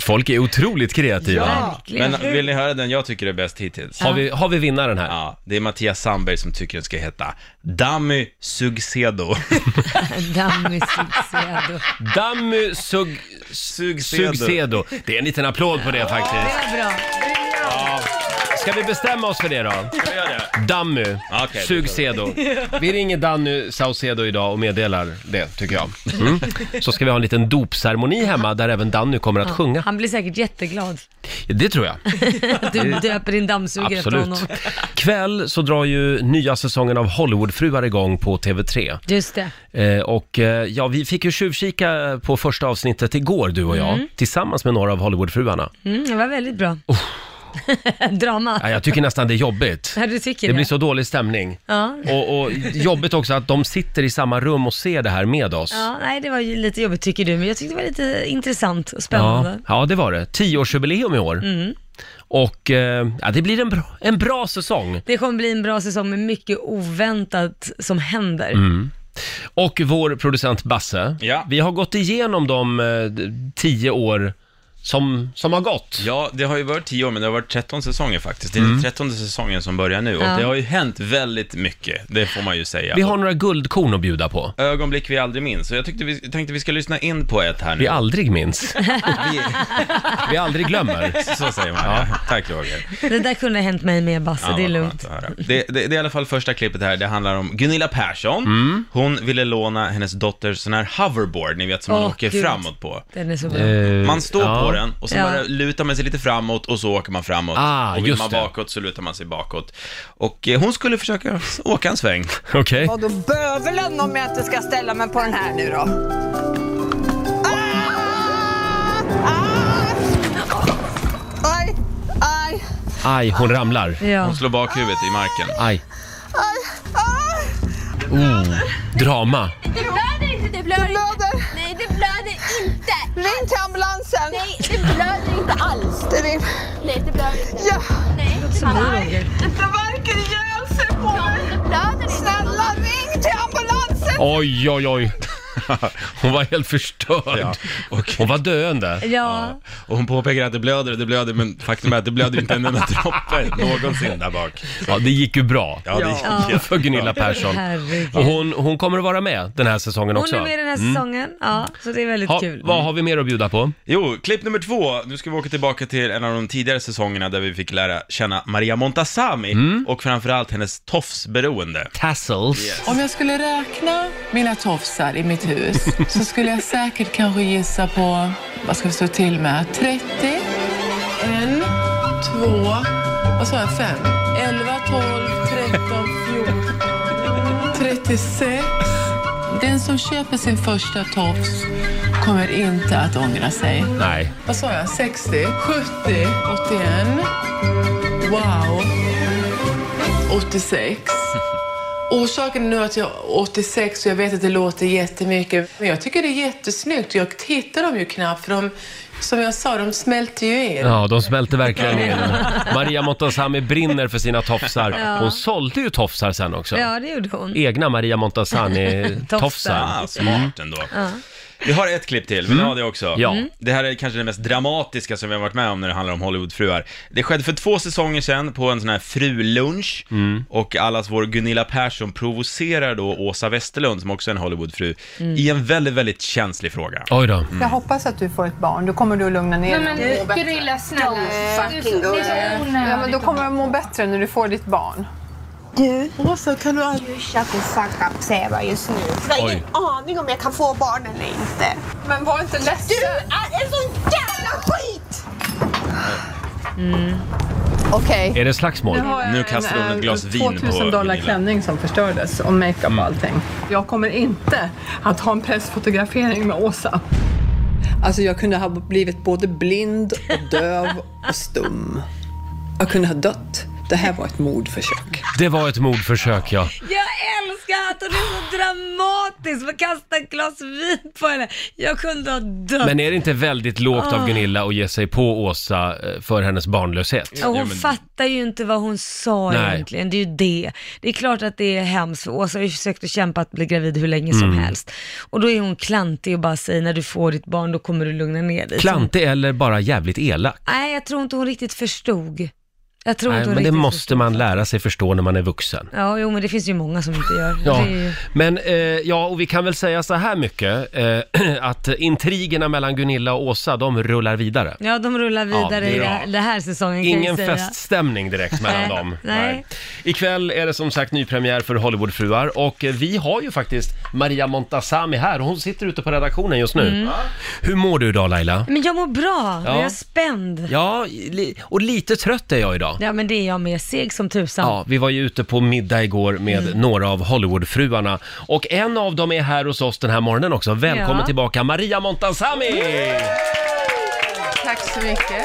[SPEAKER 1] Folk är otroligt kreativa.
[SPEAKER 5] Ja.
[SPEAKER 2] verkligen.
[SPEAKER 5] Men eh, vill ni höra den jag tycker är bäst hittills?
[SPEAKER 1] Har, vi, har vi vinnaren här?
[SPEAKER 5] Ja, det är Mattias Sandberg som tycker den ska heta Dammy Sugsedo.
[SPEAKER 2] Dammis Succedo.
[SPEAKER 1] Dammy Sug...
[SPEAKER 5] Sugsedo.
[SPEAKER 1] Sugsedo. Det är en liten applåd på det faktiskt.
[SPEAKER 2] Det var bra.
[SPEAKER 1] Ska vi bestämma oss för det då?
[SPEAKER 5] Ska jag göra det?
[SPEAKER 1] Dammy
[SPEAKER 5] Okej, det
[SPEAKER 1] Sugsedo. Vi ringer Danny Saucedo idag och meddelar det, tycker jag. Mm. Så ska vi ha en liten dopceremoni hemma där även Danny kommer att sjunga.
[SPEAKER 2] Han blir säkert jätteglad
[SPEAKER 1] Det tror jag.
[SPEAKER 2] att du döper din dammsugare efter honom.
[SPEAKER 1] Absolut. Kväll så drar ju nya säsongen av Hollywoodfruar igång på TV3.
[SPEAKER 2] Just det.
[SPEAKER 1] Eh, och eh, ja, vi fick ju tjuvkika på första avsnittet igår, du och jag, tillsammans med några av Hollywoodfruarna.
[SPEAKER 2] Mm, det var väldigt bra. Drama.
[SPEAKER 1] Ja, jag tycker nästan det är jobbigt.
[SPEAKER 2] Ja, du tycker
[SPEAKER 1] Det
[SPEAKER 2] det?
[SPEAKER 1] blir så dålig stämning.
[SPEAKER 2] Ja.
[SPEAKER 1] Och, och jobbigt också att de sitter i samma rum och ser det här med oss.
[SPEAKER 2] ja, nej det var ju lite jobbigt tycker du, men jag tyckte det var lite intressant och
[SPEAKER 1] Ja,
[SPEAKER 2] spännande. Mm.
[SPEAKER 1] ja, det var det. Tioårsjubileum i år. Och eh, ja, det blir en bra, en bra säsong.
[SPEAKER 2] Det kommer bli en bra säsong med mycket oväntat som händer.
[SPEAKER 1] Mm. Och vår producent Basse,
[SPEAKER 5] Ja.
[SPEAKER 1] vi har gått igenom de eh, d- tio år som, som har gått.
[SPEAKER 5] Ja, det har ju varit 10 år, men det har varit 13 säsonger faktiskt. Det är
[SPEAKER 1] Mm.
[SPEAKER 5] den 13 säsongen som börjar nu och
[SPEAKER 2] Ja.
[SPEAKER 5] det har ju hänt väldigt mycket, det får man ju säga.
[SPEAKER 1] Vi har några guldkorn att bjuda på.
[SPEAKER 5] Ögonblick vi aldrig minns, så jag tyckte vi, tänkte vi ska lyssna in på ett här nu.
[SPEAKER 1] Vi aldrig minns, vi aldrig glömmer.
[SPEAKER 5] Så säger man, ja. Tack Roger.
[SPEAKER 2] Det där kunde ha hänt mig med Basse,
[SPEAKER 5] Ja,
[SPEAKER 2] det är
[SPEAKER 5] vad
[SPEAKER 2] lugnt.
[SPEAKER 5] skönt att höra. Det, det, det är i alla fall första klippet här, det handlar om Gunilla Persson.
[SPEAKER 2] Mm.
[SPEAKER 5] Hon ville låna hennes dotters sån här hoverboard, ni vet som man
[SPEAKER 2] Åh,
[SPEAKER 5] åker
[SPEAKER 2] Gud.
[SPEAKER 5] framåt på.
[SPEAKER 2] Den är så bra.
[SPEAKER 1] Eh,
[SPEAKER 5] Man står
[SPEAKER 1] ja.
[SPEAKER 5] på den och sen
[SPEAKER 2] Ja.
[SPEAKER 5] bara lutar man sig lite framåt och så åker man framåt.
[SPEAKER 1] Ah,
[SPEAKER 5] och vill
[SPEAKER 1] just
[SPEAKER 5] man
[SPEAKER 1] det.
[SPEAKER 5] bakåt så lutar man sig bakåt. Och eh, hon skulle försöka s- åka en sväng.
[SPEAKER 1] Okej.
[SPEAKER 6] Vadå bövelen om jag inte ska ställa mig på den här nu då? Ah! Ah! Aj, aj,
[SPEAKER 1] Aj, hon ramlar.
[SPEAKER 2] Ja.
[SPEAKER 5] Hon slår bakhuvudet i marken.
[SPEAKER 2] Ah.
[SPEAKER 1] Aj.
[SPEAKER 6] aj, aj!
[SPEAKER 1] Oh, drama.
[SPEAKER 7] Det blöder inte, det blöder inte.
[SPEAKER 6] Blöder!
[SPEAKER 7] Nej, det blöder inte.
[SPEAKER 6] Ring till ambulansen!
[SPEAKER 7] Nej, det blöder inte alls.
[SPEAKER 6] Det är rim.
[SPEAKER 7] Nej, det blöder inte.
[SPEAKER 6] Ja,
[SPEAKER 7] Nej, det blöder inte.
[SPEAKER 6] det verkar ihjäl sig på mig!
[SPEAKER 7] Det blöder inte.
[SPEAKER 6] Snälla ring till ambulansen!
[SPEAKER 1] Oj, oj, oj. Hon var helt förstörd.
[SPEAKER 5] Ja, okej.
[SPEAKER 1] Hon var döende.
[SPEAKER 2] Ja,
[SPEAKER 5] Och hon påpekar att det blöder och det blöder, men faktum är att det blöder inte en enda droppe någonsin där bak.
[SPEAKER 1] Ja, det gick ju bra
[SPEAKER 5] Ja, det gick
[SPEAKER 2] Ja.
[SPEAKER 5] jättebra.
[SPEAKER 1] för Gunilla Persson.
[SPEAKER 2] herregud.
[SPEAKER 1] Och hon, hon kommer att vara med den här säsongen
[SPEAKER 2] Hon
[SPEAKER 1] också. Mm.
[SPEAKER 2] är med i den här säsongen, ja, så det är väldigt
[SPEAKER 1] Ha,
[SPEAKER 2] kul. Mm.
[SPEAKER 1] vad har vi mer att bjuda på?
[SPEAKER 5] Jo, klipp nummer två. Nu ska vi åka tillbaka till en av de tidigare säsongerna där vi fick lära känna Maria Montazami
[SPEAKER 1] Mm.
[SPEAKER 5] och framförallt hennes tofsberoende.
[SPEAKER 1] Tassels.
[SPEAKER 8] Om jag skulle räkna mina tofsar i mitt hus så skulle jag säkert kanske gissa på, vad ska vi stå till med, 30? En, två, vad sa jag, fem? 11, 12, 13, 14, 36, Den som köper sin första tofs kommer inte att ångra sig.
[SPEAKER 1] Nej.
[SPEAKER 8] Vad sa jag? 60, 70, 81. Wow. 86. Orsaken nu att jag är 86 och jag vet att det låter jättemycket, men jag tycker det är jättesnyggt. Jag tittar dem ju knappt för de, som jag sa, de smälter ju in.
[SPEAKER 1] Ja, de smälter verkligen in. Maria Montazami brinner för sina tofsar. Hon sålde ju tofsar sen också.
[SPEAKER 2] Ja, det gjorde hon.
[SPEAKER 1] Egna Maria Montazami-tofsar.
[SPEAKER 5] Ah, smart ändå. Vi har ett klipp till, vill ni ha det också?
[SPEAKER 1] Ja. Mm. Mm.
[SPEAKER 5] Det här är kanske det mest dramatiska som vi har varit med om när det handlar om Hollywoodfruar. Det skedde för två säsonger sedan på en sån här frulunch
[SPEAKER 1] Mm.
[SPEAKER 5] och allas vår Gunilla Persson provocerar då Åsa Westerlund, som också är en Hollywoodfru, i en väldigt, väldigt känslig fråga.
[SPEAKER 1] Oj då.
[SPEAKER 9] Jag hoppas att du får ett barn. Då kommer du att lugna ner dig.
[SPEAKER 7] Men Gunilla, snälla. Du- det är så onödigt.
[SPEAKER 9] Ja, men då kommer du att må bättre när du får ditt barn.
[SPEAKER 10] Du,
[SPEAKER 8] Åsa, kan du aldrig...
[SPEAKER 10] du kör på fuck up säger jag just nu. Jag har ingen aning om jag kan få barn eller inte.
[SPEAKER 9] Men var inte
[SPEAKER 10] Du
[SPEAKER 9] ledsen.
[SPEAKER 10] är en sån jävla skit!
[SPEAKER 9] Okej.
[SPEAKER 1] Är det slagsmål?
[SPEAKER 9] Nu har jag
[SPEAKER 5] Nu
[SPEAKER 9] en,
[SPEAKER 5] kastar hon ett
[SPEAKER 9] eh,
[SPEAKER 5] glas vin på
[SPEAKER 9] 2000 dollar
[SPEAKER 5] Gunilla.
[SPEAKER 9] klänning som förstördes och makeup och allting. Jag kommer inte att ha en pressfotografering med Åsa.
[SPEAKER 11] Alltså jag kunde ha blivit både blind och döv och stum. Jag kunde ha dött. Det här var ett mordförsök.
[SPEAKER 1] Det var ett mordförsök, ja.
[SPEAKER 2] Jag älskar att hon är så dramatisk. Man kastar ett glas vin på henne. Jag kunde ha dött.
[SPEAKER 1] Men är det inte väldigt lågt av Gunilla att ge sig på Åsa eh, för hennes barnlöshet?
[SPEAKER 2] Och hon
[SPEAKER 5] Ja, men-
[SPEAKER 2] fattar ju inte vad hon sa
[SPEAKER 1] Nej.
[SPEAKER 2] egentligen. Det är ju det. Det är klart att det är hemskt för Åsa har ju försökt att kämpa att bli gravid hur länge
[SPEAKER 1] Mm.
[SPEAKER 2] som helst. Och då är hon klantig och bara säger när du får ditt barn då kommer du lugna ner dig.
[SPEAKER 1] Klantig eller bara jävligt elak?
[SPEAKER 2] Så- Nej, jag tror inte hon riktigt förstod. Jag tror
[SPEAKER 1] Nej,
[SPEAKER 2] inte hon
[SPEAKER 1] men det
[SPEAKER 2] riktigt
[SPEAKER 1] måste
[SPEAKER 2] förstod.
[SPEAKER 1] man lära sig förstå när man är vuxen.
[SPEAKER 2] Ja, jo men det finns ju många som inte gör.
[SPEAKER 1] Ja,
[SPEAKER 2] Det är ju...
[SPEAKER 1] men eh, ja, och vi kan väl säga så här mycket, eh, att intrigerna mellan Gunilla och Åsa, de rullar vidare.
[SPEAKER 2] Ja, de
[SPEAKER 1] Ja,
[SPEAKER 2] rullar vidare i
[SPEAKER 1] bra.
[SPEAKER 2] det här, det här säsongen kan
[SPEAKER 1] Ingen
[SPEAKER 2] jag säga.
[SPEAKER 1] feststämning direkt mellan
[SPEAKER 2] Nej,
[SPEAKER 1] dem.
[SPEAKER 2] nej.
[SPEAKER 1] Ikväll är det som sagt nypremiär för Hollywoodfruar och eh, vi har ju faktiskt Maria Montazami här. Hon sitter ute på redaktionen just nu.
[SPEAKER 2] Mm.
[SPEAKER 1] Hur mår du idag Laila?
[SPEAKER 2] Men jag mår bra,
[SPEAKER 1] Ja.
[SPEAKER 2] jag är spänd. Ja.
[SPEAKER 1] Ja, li- och lite trött är jag idag.
[SPEAKER 2] men det är jag med, seg som tusan.
[SPEAKER 1] Ja, vi var ju ute på middag igår med
[SPEAKER 2] Mm.
[SPEAKER 1] några av Hollywoodfruarna och en av dem är här hos oss den här morgonen också. Välkommen
[SPEAKER 2] Ja.
[SPEAKER 1] tillbaka Maria Montazami!
[SPEAKER 8] Tack så mycket.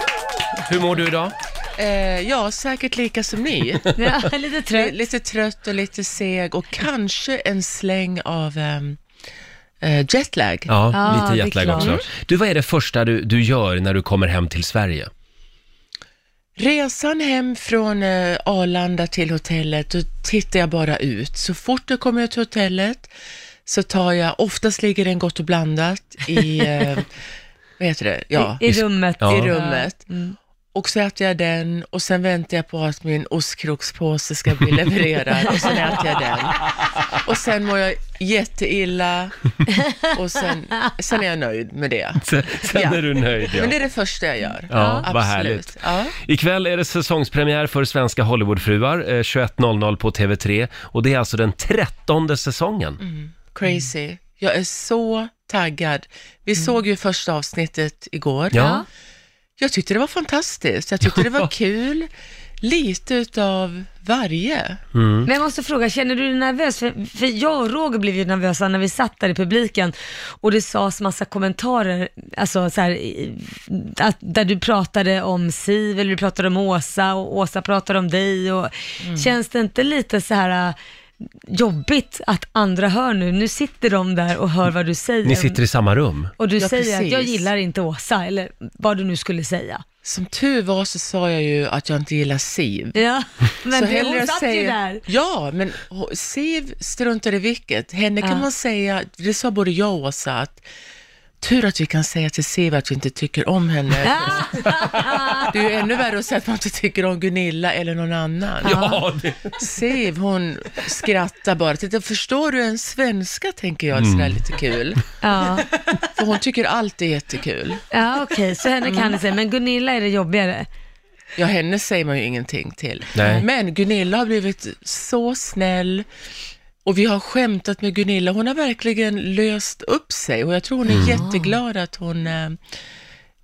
[SPEAKER 1] Hur mår du idag?
[SPEAKER 8] Eh, ja, säkert lika som ni.
[SPEAKER 2] Ja, lite
[SPEAKER 8] Li-
[SPEAKER 2] trött.
[SPEAKER 8] lite trött och lite seg och kanske en släng av ehm, eh, jetlag.
[SPEAKER 1] Ja,
[SPEAKER 2] Ja, det
[SPEAKER 1] lite
[SPEAKER 2] är
[SPEAKER 1] jetlag
[SPEAKER 2] klart.
[SPEAKER 1] också. Du, vad är det första du, du gör när du kommer hem till Sverige?
[SPEAKER 8] Resan hem från eh, Arlanda till hotellet, då tittar jag bara ut. Så fort jag kommer ut till hotellet så tar jag, oftast ligger den gott och blandat i, eh, vad heter det, ja,
[SPEAKER 2] I, I rummet. Mm.
[SPEAKER 1] Ja.
[SPEAKER 8] i rummet. Och så äter jag den och sen väntar jag på att min ostkrokspåse ska bli levererad och sen äter jag den. Och sen mår jag jätteilla och sen, sen är jag nöjd med det.
[SPEAKER 1] Sen, sen
[SPEAKER 8] Ja.
[SPEAKER 1] är du nöjd ja.
[SPEAKER 8] Men det är det första jag gör.
[SPEAKER 1] Ja, vad
[SPEAKER 8] Absolut.
[SPEAKER 1] härligt.
[SPEAKER 8] Ja.
[SPEAKER 1] Ikväll är det säsongspremiär för Svenska Hollywoodfruar, eh, 21.00 på TV3 och det är alltså den trettonde säsongen.
[SPEAKER 8] Mm.
[SPEAKER 2] Mm.
[SPEAKER 8] Crazy. Jag är så taggad. Vi såg ju första avsnittet igår.
[SPEAKER 1] Ja.
[SPEAKER 8] Jag tyckte det var fantastiskt. Jag tyckte det var kul. Lite utav varje. Mm.
[SPEAKER 2] Men jag måste fråga, känner du dig nervös? För, för jag och Roger blev ju nervösa när vi satt där i publiken och det sades massa kommentarer, alltså så här, i- att, där du pratade om Siv eller du pratade om Åsa och Åsa pratade om dig och
[SPEAKER 8] Mm.
[SPEAKER 2] känns det inte lite så här äh, jobbigt att andra hör nu? Nu sitter de där och hör vad du säger.
[SPEAKER 1] Ni sitter i samma rum.
[SPEAKER 2] och du
[SPEAKER 8] Ja,
[SPEAKER 2] säger att
[SPEAKER 8] precis.
[SPEAKER 2] jag gillar inte Åsa, eller vad du nu skulle säga.
[SPEAKER 8] Som tur var så sa jag ju att jag inte gillar Siv.
[SPEAKER 2] Ja, men
[SPEAKER 8] så
[SPEAKER 2] det,
[SPEAKER 8] hellre
[SPEAKER 2] hon satt ju
[SPEAKER 8] säga-
[SPEAKER 2] där.
[SPEAKER 8] Ja, men ho- Siv struntar i vilket. Henne
[SPEAKER 2] Ja.
[SPEAKER 8] kan man säga, det sa både jag och Åsa, att tur att vi kan säga till Siv att vi inte tycker om henne.
[SPEAKER 2] Ah!
[SPEAKER 8] Det är ju ännu värre att säga att man inte tycker om Gunilla eller någon annan.
[SPEAKER 1] Ja, det,
[SPEAKER 8] Siv, hon skrattar bara. Titta, förstår du en svenska, tänker jag, sådär
[SPEAKER 1] Mm.
[SPEAKER 8] lite kul.
[SPEAKER 2] Ja.
[SPEAKER 8] För hon tycker allt är jättekul.
[SPEAKER 2] Ja okej, så henne kan ni säga, men Gunilla är det jobbigare.
[SPEAKER 8] Ja, henne säger man ju ingenting till.
[SPEAKER 1] Nej.
[SPEAKER 8] Men Gunilla har blivit så snäll och vi har skämtat med Gunilla.
[SPEAKER 1] Mm.
[SPEAKER 8] Hon har verkligen löst upp sig och jag tror hon är jätteglad att hon eh,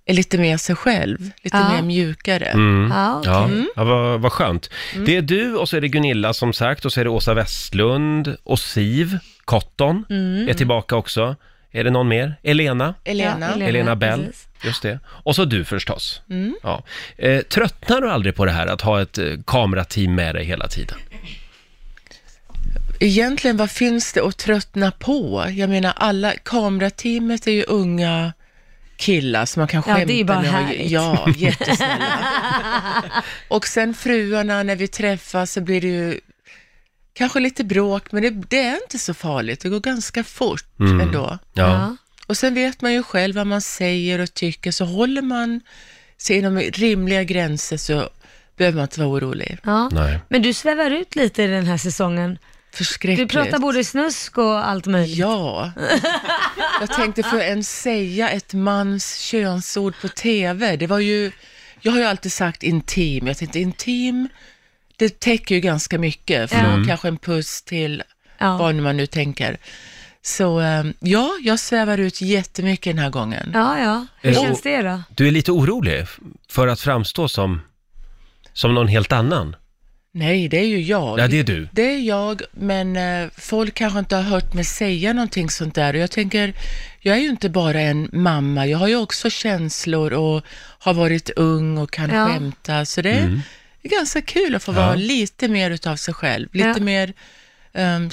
[SPEAKER 8] är lite mer sig själv, lite
[SPEAKER 2] Ja.
[SPEAKER 8] mer mjukare.
[SPEAKER 1] Mm. ja.
[SPEAKER 8] Mm.
[SPEAKER 1] ja vad, vad skönt.
[SPEAKER 8] Mm.
[SPEAKER 1] Det är du och så är det Gunilla som sagt och så är det Åsa Westlund och Siv Cotton
[SPEAKER 2] Mm.
[SPEAKER 1] är tillbaka också. Är det någon mer? Elena?
[SPEAKER 8] Elena. Ja,
[SPEAKER 1] Elena,
[SPEAKER 8] Elena,
[SPEAKER 1] Bell.
[SPEAKER 8] precis.
[SPEAKER 1] Just det. Och så du förstås.
[SPEAKER 8] Mm.
[SPEAKER 1] Ja. Eh, tröttnar du aldrig på det här att ha ett eh, kamerateam med dig hela tiden?
[SPEAKER 8] Egentligen, vad finns det att tröttna på? Jag menar, alla, kamerateamet är ju unga killar som man kan
[SPEAKER 2] Ja,
[SPEAKER 8] skämta
[SPEAKER 2] det är ju bara
[SPEAKER 8] med. och-
[SPEAKER 2] härligt.
[SPEAKER 8] Ja, jättesnälla. och sen fruarna, när vi träffas så blir det ju kanske lite bråk, men det, det är inte så farligt. Det går ganska fort
[SPEAKER 1] Mm.
[SPEAKER 8] ändå.
[SPEAKER 1] Ja.
[SPEAKER 8] Och sen vet man ju själv vad man säger och tycker, så håller man sig inom rimliga gränser så behöver man inte vara orolig.
[SPEAKER 2] Ja.
[SPEAKER 1] Nej.
[SPEAKER 2] Men du svävar ut lite i den här säsongen.
[SPEAKER 8] Förskräckligt.
[SPEAKER 2] Du pratar både snusk och allt möjligt.
[SPEAKER 8] Ja. Jag tänkte, får jag ens säga ett mans könsord på TV? Det var ju, jag har ju alltid sagt intim. Jag tänkte intim, det täcker ju ganska mycket. Från
[SPEAKER 5] Mm.
[SPEAKER 8] kanske en puss till
[SPEAKER 2] Ja.
[SPEAKER 8] vad man nu tänker. Så eh, ja, jag svävar ut jättemycket den här gången.
[SPEAKER 2] Ja, ja. Hur
[SPEAKER 1] Eh,
[SPEAKER 2] känns
[SPEAKER 1] och-
[SPEAKER 2] det då?
[SPEAKER 1] Du är lite orolig f- för att framstå som, som någon helt annan.
[SPEAKER 8] Nej, det är ju jag.
[SPEAKER 1] Ja, det är du.
[SPEAKER 8] Det är jag, men eh, folk kanske inte har hört mig säga någonting sånt där. Och jag tänker, jag är ju inte bara en mamma. Jag har ju också känslor och har varit ung och kan
[SPEAKER 2] Ja.
[SPEAKER 8] skämta. Så det är
[SPEAKER 1] Mm.
[SPEAKER 8] ganska kul att få
[SPEAKER 1] Ja.
[SPEAKER 8] vara lite mer utav sig själv. Lite
[SPEAKER 2] Ja.
[SPEAKER 8] mer um,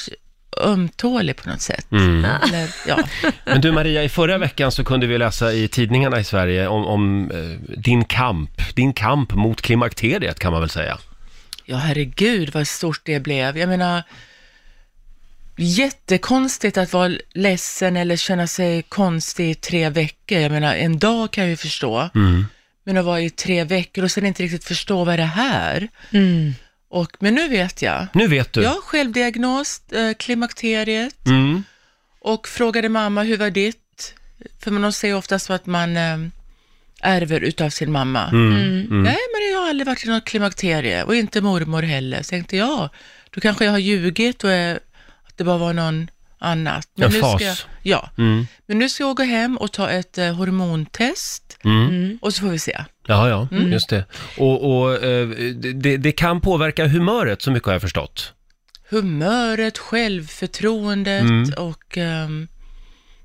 [SPEAKER 8] ömtålig på något sätt.
[SPEAKER 1] Mm.
[SPEAKER 8] Eller, ja.
[SPEAKER 1] Men du Maria, i förra veckan så kunde vi läsa i tidningarna i Sverige om, om eh, din kamp, din kamp mot klimakteriet kan man väl säga.
[SPEAKER 8] Ja, herregud vad stort det blev. Jag menar, jättekonstigt att vara ledsen eller känna sig konstig i tre veckor. Jag menar, en dag kan jag ju förstå,
[SPEAKER 1] Mm.
[SPEAKER 8] men att vara i tre veckor och sen inte riktigt förstå vad är det här och, Men nu vet jag.
[SPEAKER 1] Nu vet du.
[SPEAKER 8] Jag har självdiagnos, eh, klimakteriet
[SPEAKER 1] Mm.
[SPEAKER 8] och frågade mamma, hur var ditt? För man säger ofta så att man eh, ärver utav sin mamma.
[SPEAKER 1] Mm, Mm. mm.
[SPEAKER 8] Nej, men jag har aldrig varit i något klimakterie och inte mormor heller. Så tänkte jag, då kanske jag har ljugit och är, att det bara var någon annat. Men
[SPEAKER 1] En
[SPEAKER 8] nu
[SPEAKER 1] fas.
[SPEAKER 8] Ska jag, ja,
[SPEAKER 1] Mm.
[SPEAKER 8] men nu ska jag gå hem och ta ett eh, hormontest
[SPEAKER 1] Mm.
[SPEAKER 8] och så får vi se.
[SPEAKER 1] Ja, ja,
[SPEAKER 8] Mm.
[SPEAKER 1] just det. Och, och eh, det, det kan påverka humöret så mycket har jag förstått.
[SPEAKER 8] Humöret, självförtroendet
[SPEAKER 1] Mm.
[SPEAKER 8] och ehm,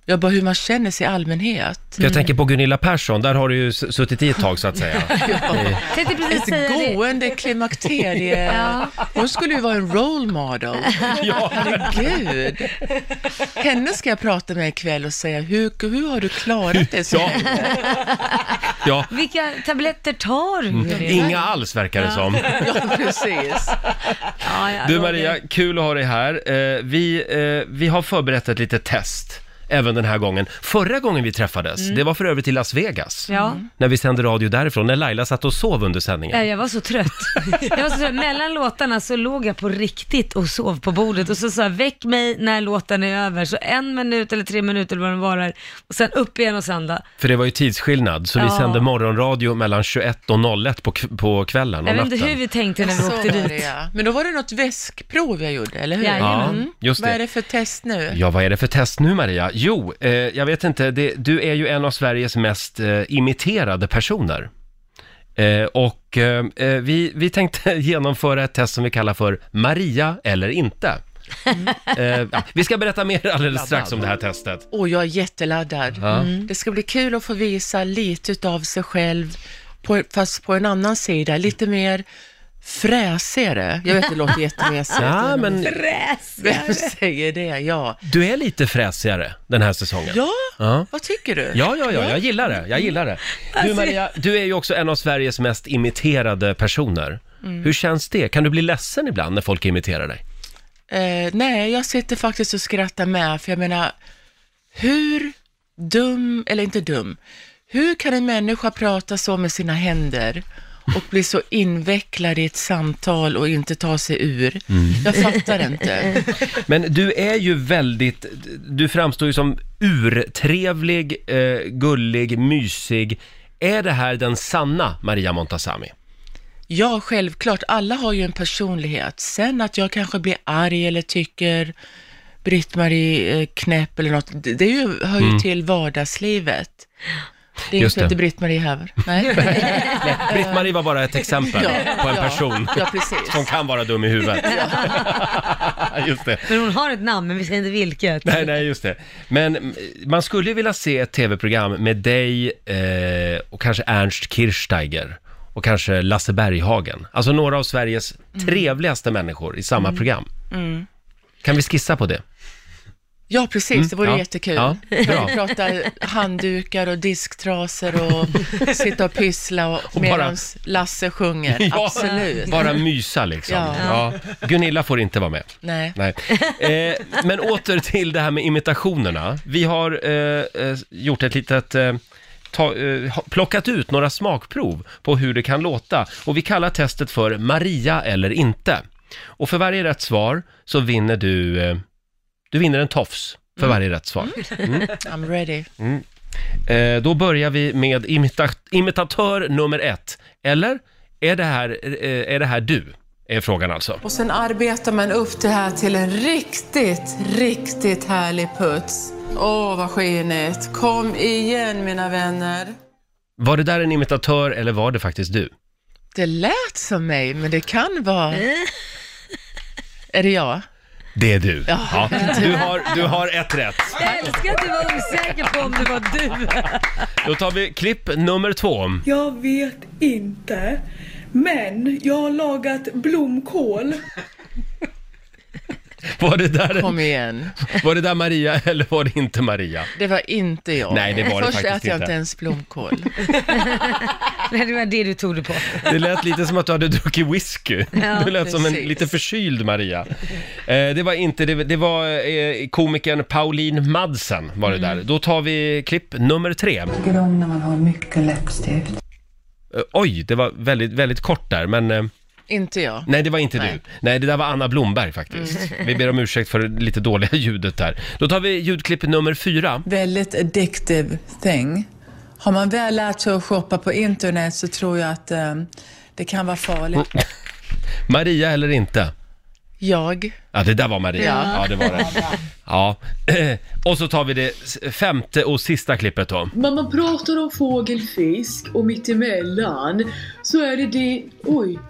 [SPEAKER 8] ja, bara hur man känner sig i allmänhet.
[SPEAKER 1] För Jag tänker på Gunilla Persson, där har du ju s- suttit i ett tag så att säga. Eh,
[SPEAKER 2] Tänkte precis säga
[SPEAKER 8] Ett
[SPEAKER 2] det.
[SPEAKER 8] gående klimakterie.
[SPEAKER 2] Ja.
[SPEAKER 8] Hon skulle ju vara en role model.
[SPEAKER 1] Ja.
[SPEAKER 8] Herregud. Henne ska jag prata med ikväll och säga, hur, hur har du klarat det? Så
[SPEAKER 1] Ja. ja.
[SPEAKER 2] Vilka tabletter tar du?
[SPEAKER 1] Mm.
[SPEAKER 2] Gunilla?
[SPEAKER 1] Inga alls verkar det
[SPEAKER 2] Ja.
[SPEAKER 1] som.
[SPEAKER 8] Ja, precis.
[SPEAKER 2] Ja, ja,
[SPEAKER 1] Du
[SPEAKER 2] Roger.
[SPEAKER 1] Maria, kul att ha dig här. Eh, Vi, eh, vi har förberett ett litet test även den här gången. Förra gången vi träffades,
[SPEAKER 2] Mm.
[SPEAKER 1] det var för övrigt i Las Vegas.
[SPEAKER 2] Ja. Eh.
[SPEAKER 1] När vi sände radio därifrån, när Laila satt och sov under sändningen.
[SPEAKER 2] Ja, jag var så trött. Jag var så trött. Mellan låtarna så låg jag på riktigt och sov på bordet och så sa jag väck mig när låten är över. Så en minut eller tre minuter eller vad den varar och sen upp igen och sända.
[SPEAKER 1] För det var ju tidsskillnad, så vi
[SPEAKER 2] Ja.
[SPEAKER 1] sände morgonradio mellan 21 och 01 på, k- på kvällen och
[SPEAKER 2] Jag vet inte hur
[SPEAKER 1] natten.
[SPEAKER 2] vi tänkte när vi
[SPEAKER 8] Så
[SPEAKER 2] åkte
[SPEAKER 8] var
[SPEAKER 2] dit.
[SPEAKER 8] det, ja. Men då var det något väskprov jag gjorde, eller hur?
[SPEAKER 1] Ja,
[SPEAKER 8] Mm.
[SPEAKER 1] just
[SPEAKER 8] Vad
[SPEAKER 1] det.
[SPEAKER 8] är det för test nu?
[SPEAKER 1] Ja, vad är det för test nu Maria? Jo, eh, jag vet inte, det, du är ju en av Sveriges mest eh, imiterade personer. Eh, och eh, eh, vi, vi tänkte genomföra ett test som vi kallar för Maria eller inte. Eh, ja, vi ska berätta mer alldeles strax om det här testet.
[SPEAKER 8] Och jag är jätteladdad.
[SPEAKER 1] Ja. Mm.
[SPEAKER 8] Det ska bli kul att få visa lite av sig själv, på, fast på en annan sida, lite mer fräsigare. Jag vet, det låter jättemesigt.
[SPEAKER 1] Ja, men
[SPEAKER 8] Vem säger det? Ja.
[SPEAKER 1] du är lite fräsigare den här säsongen.
[SPEAKER 8] Ja,
[SPEAKER 1] Ja.
[SPEAKER 8] vad tycker du?
[SPEAKER 1] Ja, ja, ja, jag gillar det. Jag gillar det. Du Maria, du är ju också en av Sveriges mest imiterade personer.
[SPEAKER 8] Mm.
[SPEAKER 1] Hur känns det? Kan du bli ledsen ibland när folk imiterar dig?
[SPEAKER 8] Eh, nej, jag sitter faktiskt och skrattar med, för jag menar, hur dum, eller inte dum, hur kan en människa prata så med sina händer och bli så invecklad i ett samtal och inte ta sig ur?
[SPEAKER 1] Mm.
[SPEAKER 8] Jag fattar inte.
[SPEAKER 1] Men du är ju väldigt, du framstår ju som urtrevlig, eh, gullig, mysig. Är det här den sanna Maria Montazami?
[SPEAKER 8] Ja, självklart, alla har ju en personlighet. Sen att jag kanske blir arg eller tycker Britt-Marie eh, knäpp eller något, det, det är ju, hör ju
[SPEAKER 1] Mm.
[SPEAKER 8] till vardagslivet. Det är
[SPEAKER 1] Just
[SPEAKER 8] inte
[SPEAKER 1] det.
[SPEAKER 8] Britt-Marie Häver. Nej.
[SPEAKER 1] Nej, Britt-Marie var bara ett exempel
[SPEAKER 8] Ja,
[SPEAKER 1] på en
[SPEAKER 8] ja.
[SPEAKER 1] person
[SPEAKER 8] Ja, precis.
[SPEAKER 1] som kan vara dum i huvudet. Just det.
[SPEAKER 2] Men hon har ett namn, men vi säger inte vilket.
[SPEAKER 1] Nej, nej, just det. Men mm, man skulle ju vilja se ett tv-program med dig eh, och kanske Ernst Kirchsteiger och kanske Lasse Berghagen. Alltså några av Sveriges trevligaste människor i samma program.
[SPEAKER 8] Mm.
[SPEAKER 1] Kan vi skissa på det?
[SPEAKER 8] Ja, precis.
[SPEAKER 1] Mm,
[SPEAKER 8] det vore
[SPEAKER 1] ja.
[SPEAKER 8] jättekul.
[SPEAKER 1] Ja, bra.
[SPEAKER 8] Vi pratar handdukar och disktrasor och sitta och pyssla och,
[SPEAKER 1] Och bara-
[SPEAKER 8] medans Lasse sjunger. Absolut.
[SPEAKER 1] Bara mysa liksom.
[SPEAKER 8] Ja.
[SPEAKER 1] Ja. Gunilla får inte vara med.
[SPEAKER 8] Nej.
[SPEAKER 1] Nej. Eh, men åter till det här med imitationerna. Vi har eh, eh, gjort ett litet... Eh, Ta, eh, ha- plockat ut några smakprov på hur det kan låta och vi kallar testet för Maria eller inte. Och för varje rätt svar så vinner du, eh, du vinner en tofs för varje rätt svar. Mm.
[SPEAKER 8] I'm ready.
[SPEAKER 1] Mm. Eh, då börjar vi med imita imitatör nummer ett. Eller är det här, eh, är det här du? Är frågan alltså.
[SPEAKER 8] Och sen arbetar man upp det här till en riktigt, riktigt härlig puts. Åh, vad skinigt. Kom igen, mina vänner.
[SPEAKER 1] Var det där en imitatör eller var det faktiskt du?
[SPEAKER 8] Det lät som mig, men det kan vara... Är det jag?
[SPEAKER 1] Det är du.
[SPEAKER 8] Ja.
[SPEAKER 1] Ja. Du, har, du har ett rätt.
[SPEAKER 2] Jag älskar att du var osäker på om det var du.
[SPEAKER 1] Då tar vi klipp nummer två.
[SPEAKER 12] Jag vet inte. Men jag har lagat blomkål.
[SPEAKER 1] Var det där,
[SPEAKER 8] Kom igen.
[SPEAKER 1] Var det där Maria eller var det inte Maria?
[SPEAKER 8] Det var inte jag.
[SPEAKER 1] Nej, det var det
[SPEAKER 8] Först
[SPEAKER 1] faktiskt
[SPEAKER 8] äter jag
[SPEAKER 1] inte.
[SPEAKER 8] inte ens blomkål.
[SPEAKER 2] Nej, det var det du tog det på.
[SPEAKER 1] Det lät lite som att du hade druckit whisky.
[SPEAKER 2] Ja,
[SPEAKER 1] du lät som en
[SPEAKER 2] precis.
[SPEAKER 1] lite förkyld Maria. Eh, det var inte, det, det var eh, komikern Pauline Madsen var det där. Då tar vi klipp nummer tre.
[SPEAKER 13] tycker om när man har mycket läppstift.
[SPEAKER 1] Eh, Oj, det var väldigt, väldigt kort där, men eh,
[SPEAKER 8] Inte jag.
[SPEAKER 1] nej, det var inte
[SPEAKER 8] Nej.
[SPEAKER 1] du. Nej, det där var Anna Blomberg faktiskt.
[SPEAKER 8] Mm.
[SPEAKER 1] Vi ber om ursäkt för det lite dåliga ljudet där. Då tar vi ljudklipp nummer fyra.
[SPEAKER 14] Väldigt addictive thing. Har man väl lärt sig att shoppa på internet så tror jag att eh, det kan vara farligt.
[SPEAKER 1] Maria eller inte?
[SPEAKER 8] Jag.
[SPEAKER 1] Ja, det där var Maria. Ja,
[SPEAKER 8] Ja.
[SPEAKER 1] det var det. Ja. Och så tar vi det s- femte och sista klippet då.
[SPEAKER 15] När man pratar om fågelfisk och mittemellan så är det det... Oj.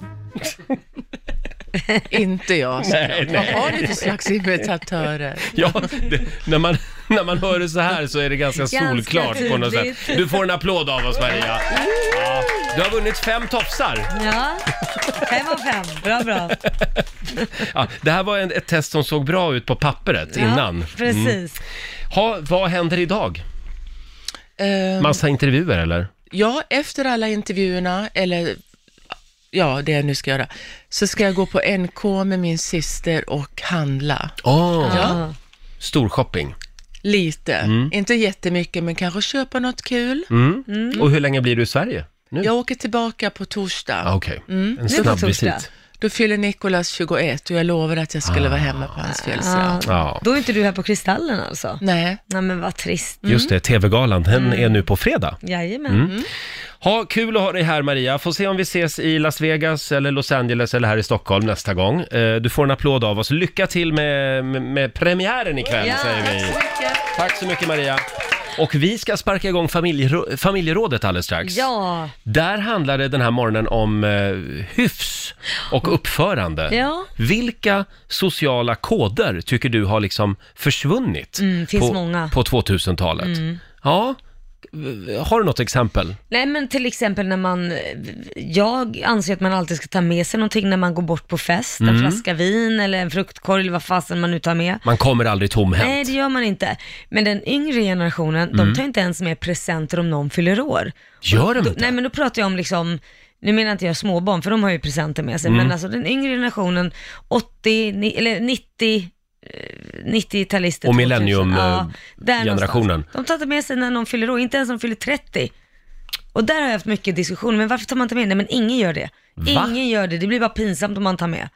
[SPEAKER 8] Inte jag. såklart.
[SPEAKER 1] Nej,
[SPEAKER 8] Vad
[SPEAKER 1] nej.
[SPEAKER 8] har ni för slags imitatörer?
[SPEAKER 1] Ja, det, när, man, när man hör det så här så är det ganska
[SPEAKER 8] Ganska
[SPEAKER 1] solklart på något sätt.
[SPEAKER 8] tydligt.
[SPEAKER 1] Du får en applåd av oss Maria. Ja, du har vunnit fem tofsar.
[SPEAKER 2] Ja, fem av fem. Bra, bra.
[SPEAKER 1] Ja, det här var en, ett test som såg bra ut på pappret
[SPEAKER 2] Ja,
[SPEAKER 1] innan. Mm.
[SPEAKER 2] precis.
[SPEAKER 1] Ha, vad händer idag?
[SPEAKER 8] Ehm,
[SPEAKER 1] Massa intervjuer eller?
[SPEAKER 8] Ja, efter alla intervjuerna, eller ja, det jag nu ska göra, så ska jag gå på NK med min syster och handla.
[SPEAKER 1] Åh,
[SPEAKER 8] Ja.
[SPEAKER 1] Storshopping.
[SPEAKER 8] Lite.
[SPEAKER 1] Mm.
[SPEAKER 8] Inte jättemycket, men kanske köpa något kul.
[SPEAKER 1] Mm.
[SPEAKER 8] Mm.
[SPEAKER 1] Och hur länge blir du i Sverige? Nu?
[SPEAKER 8] Jag åker tillbaka på torsdag.
[SPEAKER 1] Ah, Okej,
[SPEAKER 8] Mm.
[SPEAKER 1] en snabb visit.
[SPEAKER 8] Då fyller Nikolas 21 och jag lovade att jag skulle
[SPEAKER 1] Ah.
[SPEAKER 8] vara hemma på hans
[SPEAKER 2] Ja.
[SPEAKER 8] födelsedag.
[SPEAKER 1] Ja.
[SPEAKER 2] Då är inte du här på Kristallen alltså?
[SPEAKER 8] Nej.
[SPEAKER 2] Nej, men vad trist.
[SPEAKER 1] Just det, TV-galan, den
[SPEAKER 2] Mm.
[SPEAKER 1] är nu på fredag.
[SPEAKER 2] Jajamän.
[SPEAKER 1] Mm. Ha kul att ha dig här Maria. Får se om vi ses i Las Vegas eller Los Angeles eller här i Stockholm nästa gång. Eh, Du får en applåd av oss. Lycka till med, med, med premiären ikväll
[SPEAKER 2] Ja,
[SPEAKER 1] säger
[SPEAKER 2] tack
[SPEAKER 1] vi.
[SPEAKER 2] så mycket.
[SPEAKER 1] Tack så mycket Maria. Och vi ska sparka igång familjerå- familjerådet alldeles strax.
[SPEAKER 2] Ja.
[SPEAKER 1] Där handlar det den här morgonen om eh, hyfs och uppförande.
[SPEAKER 2] Ja.
[SPEAKER 1] Vilka sociala koder tycker du har liksom försvunnit
[SPEAKER 2] Mm, finns
[SPEAKER 1] på,
[SPEAKER 2] många.
[SPEAKER 1] på 2000-talet?
[SPEAKER 2] Mm.
[SPEAKER 1] Ja, har du något exempel?
[SPEAKER 2] Nej men till exempel när man, jag anser att man alltid ska ta med sig någonting när man går bort på fest, en
[SPEAKER 1] Mm.
[SPEAKER 2] flaska vin eller en fruktkorg eller vad fasen man nu tar med.
[SPEAKER 1] Man kommer aldrig tomhänt.
[SPEAKER 2] Nej det gör man inte. Men den yngre generationen,
[SPEAKER 1] Mm.
[SPEAKER 2] de tar inte ens med presenter om någon fyller år.
[SPEAKER 1] Gör de
[SPEAKER 2] Då-
[SPEAKER 1] inte?
[SPEAKER 2] Nej men då pratar jag om liksom, nu menar inte jag småbarn för de har ju presenter med sig,
[SPEAKER 1] Mm.
[SPEAKER 2] men alltså den yngre generationen, 80, ni, eller 90, eh, 90-talister.
[SPEAKER 1] Och
[SPEAKER 2] 2000,
[SPEAKER 1] millennium, eh,
[SPEAKER 2] där
[SPEAKER 1] generationen.
[SPEAKER 2] någonstans. De tar inte med sig när någon fyller år, inte ens när de fyller 30. Och där har jag haft mycket diskussion, men varför tar man inte med? Nej men ingen gör det.
[SPEAKER 1] Va?
[SPEAKER 2] Ingen gör det, det blir bara pinsamt om man tar med.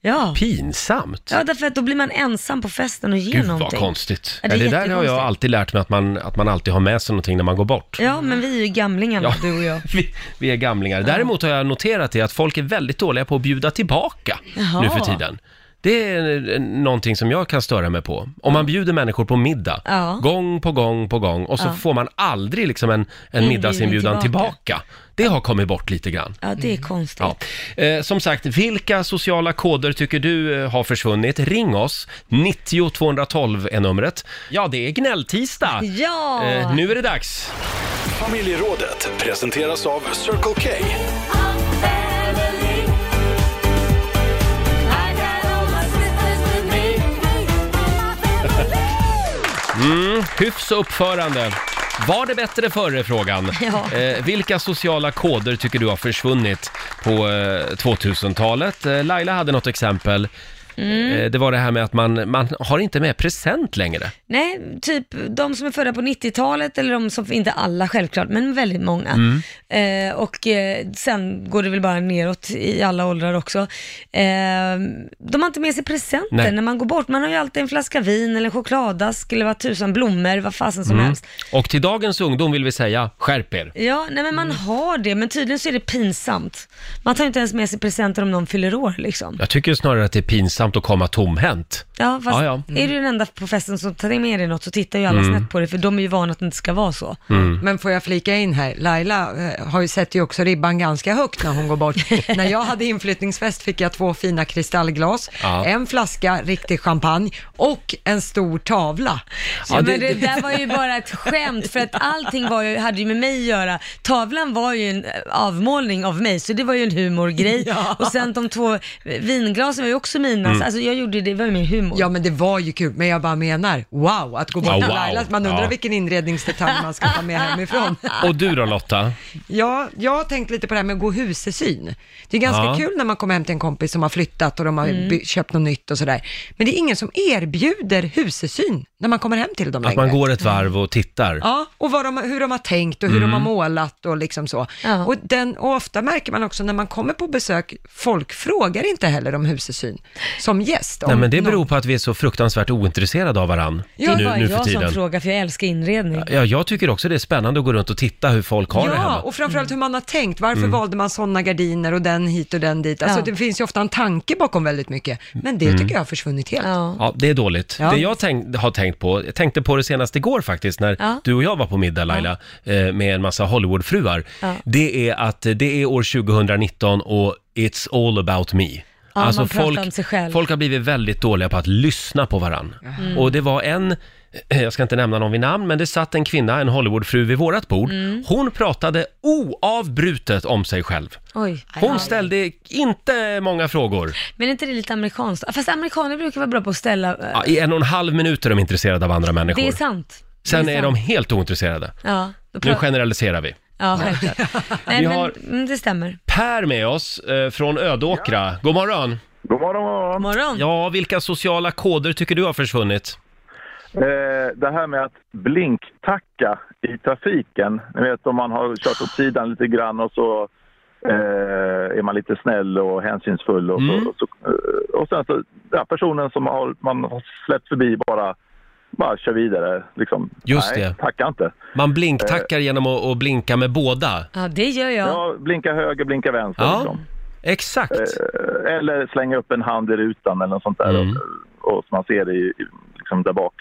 [SPEAKER 2] Ja.
[SPEAKER 1] Pinsamt?
[SPEAKER 2] Ja, därför att då blir man ensam på festen och ger
[SPEAKER 1] Gud
[SPEAKER 2] någonting.
[SPEAKER 1] vad konstigt.
[SPEAKER 2] Ja,
[SPEAKER 1] Ja,
[SPEAKER 2] det
[SPEAKER 1] det,
[SPEAKER 2] är
[SPEAKER 1] där har jag
[SPEAKER 2] jättekonstigt.
[SPEAKER 1] alltid lärt mig, att man, att man alltid har med sig någonting när man går bort.
[SPEAKER 2] Ja, men vi är ju gamlingarna,
[SPEAKER 1] Ja.
[SPEAKER 2] du och jag.
[SPEAKER 1] Vi, vi är gamlingar. Däremot har jag noterat det att folk är väldigt dåliga på att bjuda tillbaka
[SPEAKER 2] Jaha.
[SPEAKER 1] nu för tiden. Det är eh, någonting som jag kan störa mig på. Om man bjuder människor på middag,
[SPEAKER 2] Ja.
[SPEAKER 1] gång på gång på gång, och så
[SPEAKER 2] Ja.
[SPEAKER 1] får man aldrig liksom en, en
[SPEAKER 2] Inbjudning
[SPEAKER 1] middagsinbjudan
[SPEAKER 2] tillbaka.
[SPEAKER 1] tillbaka. Det har kommit bort lite grann.
[SPEAKER 2] Ja, det är konstigt.
[SPEAKER 1] Mm. Ja. Eh, som sagt, vilka sociala koder tycker du eh, har försvunnit? Ring oss, 90 212 är numret. Ja, det är gnälltisdag.
[SPEAKER 2] Ja.
[SPEAKER 1] Eh, nu är det dags.
[SPEAKER 4] Familjerådet presenteras av Circle K.
[SPEAKER 1] Mm, hyfs och uppförande. Var det bättre förr är frågan.
[SPEAKER 2] Ja.
[SPEAKER 1] Eh, vilka sociala koder tycker du har försvunnit på eh, 2000-talet? Eh, Laila hade något exempel.
[SPEAKER 2] Mm.
[SPEAKER 1] Eh, det var det här med att man, man har inte med present längre.
[SPEAKER 2] Nej, typ de som är födda på 90-talet eller de som, inte alla självklart, men väldigt många.
[SPEAKER 1] Mm.
[SPEAKER 2] Eh, och eh, sen går det väl bara neråt i alla åldrar också. Eh, de har inte med sig presenter
[SPEAKER 1] Nej.
[SPEAKER 2] när man går bort. Man har ju alltid en flaska vin eller en chokladask eller vad tusan blommor, vad fasen som
[SPEAKER 1] Mm.
[SPEAKER 2] helst.
[SPEAKER 1] Och till dagens ungdom vill vi säga, skärp er.
[SPEAKER 2] Ja, nej men man
[SPEAKER 1] Mm.
[SPEAKER 2] har det, men tydligen så är det pinsamt. Man tar ju inte ens med sig presenter om någon fyller år liksom.
[SPEAKER 1] Jag tycker snarare att det är pinsamt att komma tomhänt.
[SPEAKER 2] Ja, fast
[SPEAKER 1] Ja, ja.
[SPEAKER 2] är du den enda på festen som tar med dig något så tittar ju alla
[SPEAKER 1] Mm.
[SPEAKER 2] snett på det, för de är ju vana att det inte ska vara så.
[SPEAKER 1] Mm.
[SPEAKER 3] Men får jag flika in här, Laila eh, har ju sett ju också ribban ganska högt när hon går bort. när jag hade inflyttningsfest fick jag två fina kristallglas,
[SPEAKER 2] Ja.
[SPEAKER 3] en flaska riktig champagne och en stor tavla. Så
[SPEAKER 2] Ja, men det där var ju bara ett skämt för att allting var ju, hade ju med mig att göra. Tavlan var ju en eh, avmålning av mig, så det var ju en humorgrej.
[SPEAKER 3] Ja.
[SPEAKER 2] Och sen de två eh, vinglasen var ju också mina,
[SPEAKER 3] Mm.
[SPEAKER 2] så alltså jag gjorde det, det var ju min humor.
[SPEAKER 3] Ja men det var ju kul, men jag bara menar, wow, att gå bort
[SPEAKER 1] Ja,
[SPEAKER 3] med
[SPEAKER 1] wow.
[SPEAKER 3] Laila, man undrar
[SPEAKER 1] Ja.
[SPEAKER 3] vilken inredningsdetalj man ska ta med hemifrån.
[SPEAKER 1] Och du då Lotta?
[SPEAKER 3] Ja, jag har tänkt lite på det här med att gå husesyn. Det är ganska
[SPEAKER 1] Ja.
[SPEAKER 3] kul när man kommer hem till en kompis som har flyttat och de har
[SPEAKER 1] Mm.
[SPEAKER 3] by- köpt något nytt och sådär. Men det är ingen som erbjuder husesyn när man kommer hem till dem
[SPEAKER 1] Att
[SPEAKER 3] längre.
[SPEAKER 1] man går ett varv och tittar.
[SPEAKER 3] Ja, och vad de, hur de har tänkt och hur de
[SPEAKER 1] Mm.
[SPEAKER 3] har målat och liksom så. Och, den, och ofta märker man också när man kommer på besök, folk frågar inte heller om husesyn som gäst. Om
[SPEAKER 1] Nej men det beror
[SPEAKER 3] någon-
[SPEAKER 1] på att vi är så fruktansvärt ointresserade av varann
[SPEAKER 2] det är
[SPEAKER 1] nu,
[SPEAKER 2] bara
[SPEAKER 1] nu för
[SPEAKER 2] jag
[SPEAKER 1] tiden.
[SPEAKER 2] som frågar för jag älskar inredning.
[SPEAKER 1] Ja, jag tycker också det är spännande att gå runt och titta hur folk har det
[SPEAKER 3] Ja,
[SPEAKER 1] hemma.
[SPEAKER 3] och framförallt hur man har tänkt. Varför
[SPEAKER 1] Mm.
[SPEAKER 3] valde man sådana gardiner och den hit och den dit? Alltså
[SPEAKER 2] Ja.
[SPEAKER 3] det finns ju ofta en tanke bakom väldigt mycket, men det
[SPEAKER 1] Mm.
[SPEAKER 3] tycker jag har försvunnit helt.
[SPEAKER 1] Ja, det är dåligt.
[SPEAKER 3] Ja.
[SPEAKER 1] Det jag tänk, har tänkt på, jag tänkte på det senast igår faktiskt, när
[SPEAKER 3] Ja.
[SPEAKER 1] du och jag var på middag Laila, eh, med en massa Hollywoodfruar.
[SPEAKER 2] Ja.
[SPEAKER 1] Det är att eh, det är år 2019 och it's all about me. Alltså,
[SPEAKER 2] Ja, man pratar
[SPEAKER 1] folk,
[SPEAKER 2] om sig själv.
[SPEAKER 1] folk har blivit väldigt dåliga på att lyssna på varann.
[SPEAKER 2] Mm.
[SPEAKER 1] Och det var en, eh, jag ska inte nämna någon vid namn, men det satt en kvinna, en Hollywoodfru vid vårat bord.
[SPEAKER 2] Mm.
[SPEAKER 1] Hon pratade oavbrutet om sig själv.
[SPEAKER 2] Oj.
[SPEAKER 1] Hon ställde inte många frågor.
[SPEAKER 2] Men är inte det lite amerikanskt? Fast amerikaner brukar vara bra på att ställa... eh,
[SPEAKER 1] Ja, I en och en halv minut är de intresserade av andra människor.
[SPEAKER 2] det är sant.
[SPEAKER 1] Sen
[SPEAKER 2] det
[SPEAKER 1] är, de helt ointresserade.
[SPEAKER 2] Ja, då
[SPEAKER 1] Nu
[SPEAKER 2] pra-
[SPEAKER 1] generaliserar vi.
[SPEAKER 2] ja självklart. Nej,
[SPEAKER 1] Vi
[SPEAKER 2] men,
[SPEAKER 1] har-
[SPEAKER 2] mm, det stämmer.
[SPEAKER 1] Per med oss eh, från Ödåkra. God morgon!
[SPEAKER 16] God morgon!
[SPEAKER 2] morgon!
[SPEAKER 1] Ja, vilka sociala koder tycker du har försvunnit?
[SPEAKER 16] Eh, det här med att blinktacka i trafiken. Ni vet om man har kört åt sidan lite grann och så eh, är man lite snäll och hänsynsfull. Och, så, och, så, eh, och sen så, ja, personen som har, man har släppt förbi bara, bara kör vidare. Liksom.
[SPEAKER 1] Just
[SPEAKER 16] Nej,
[SPEAKER 1] det.
[SPEAKER 16] tacka inte. Eh,
[SPEAKER 1] Man blinktackar genom att, att blinka med båda.
[SPEAKER 2] Ja, det gör jag.
[SPEAKER 16] Ja, blinka höger, blinka vänster.
[SPEAKER 1] Ja,
[SPEAKER 16] liksom.
[SPEAKER 1] Exakt.
[SPEAKER 16] Eh, Eller slänga upp en hand i rutan eller något sånt där.
[SPEAKER 2] Mm.
[SPEAKER 16] Och, och så man ser det i, i- liksom där bak.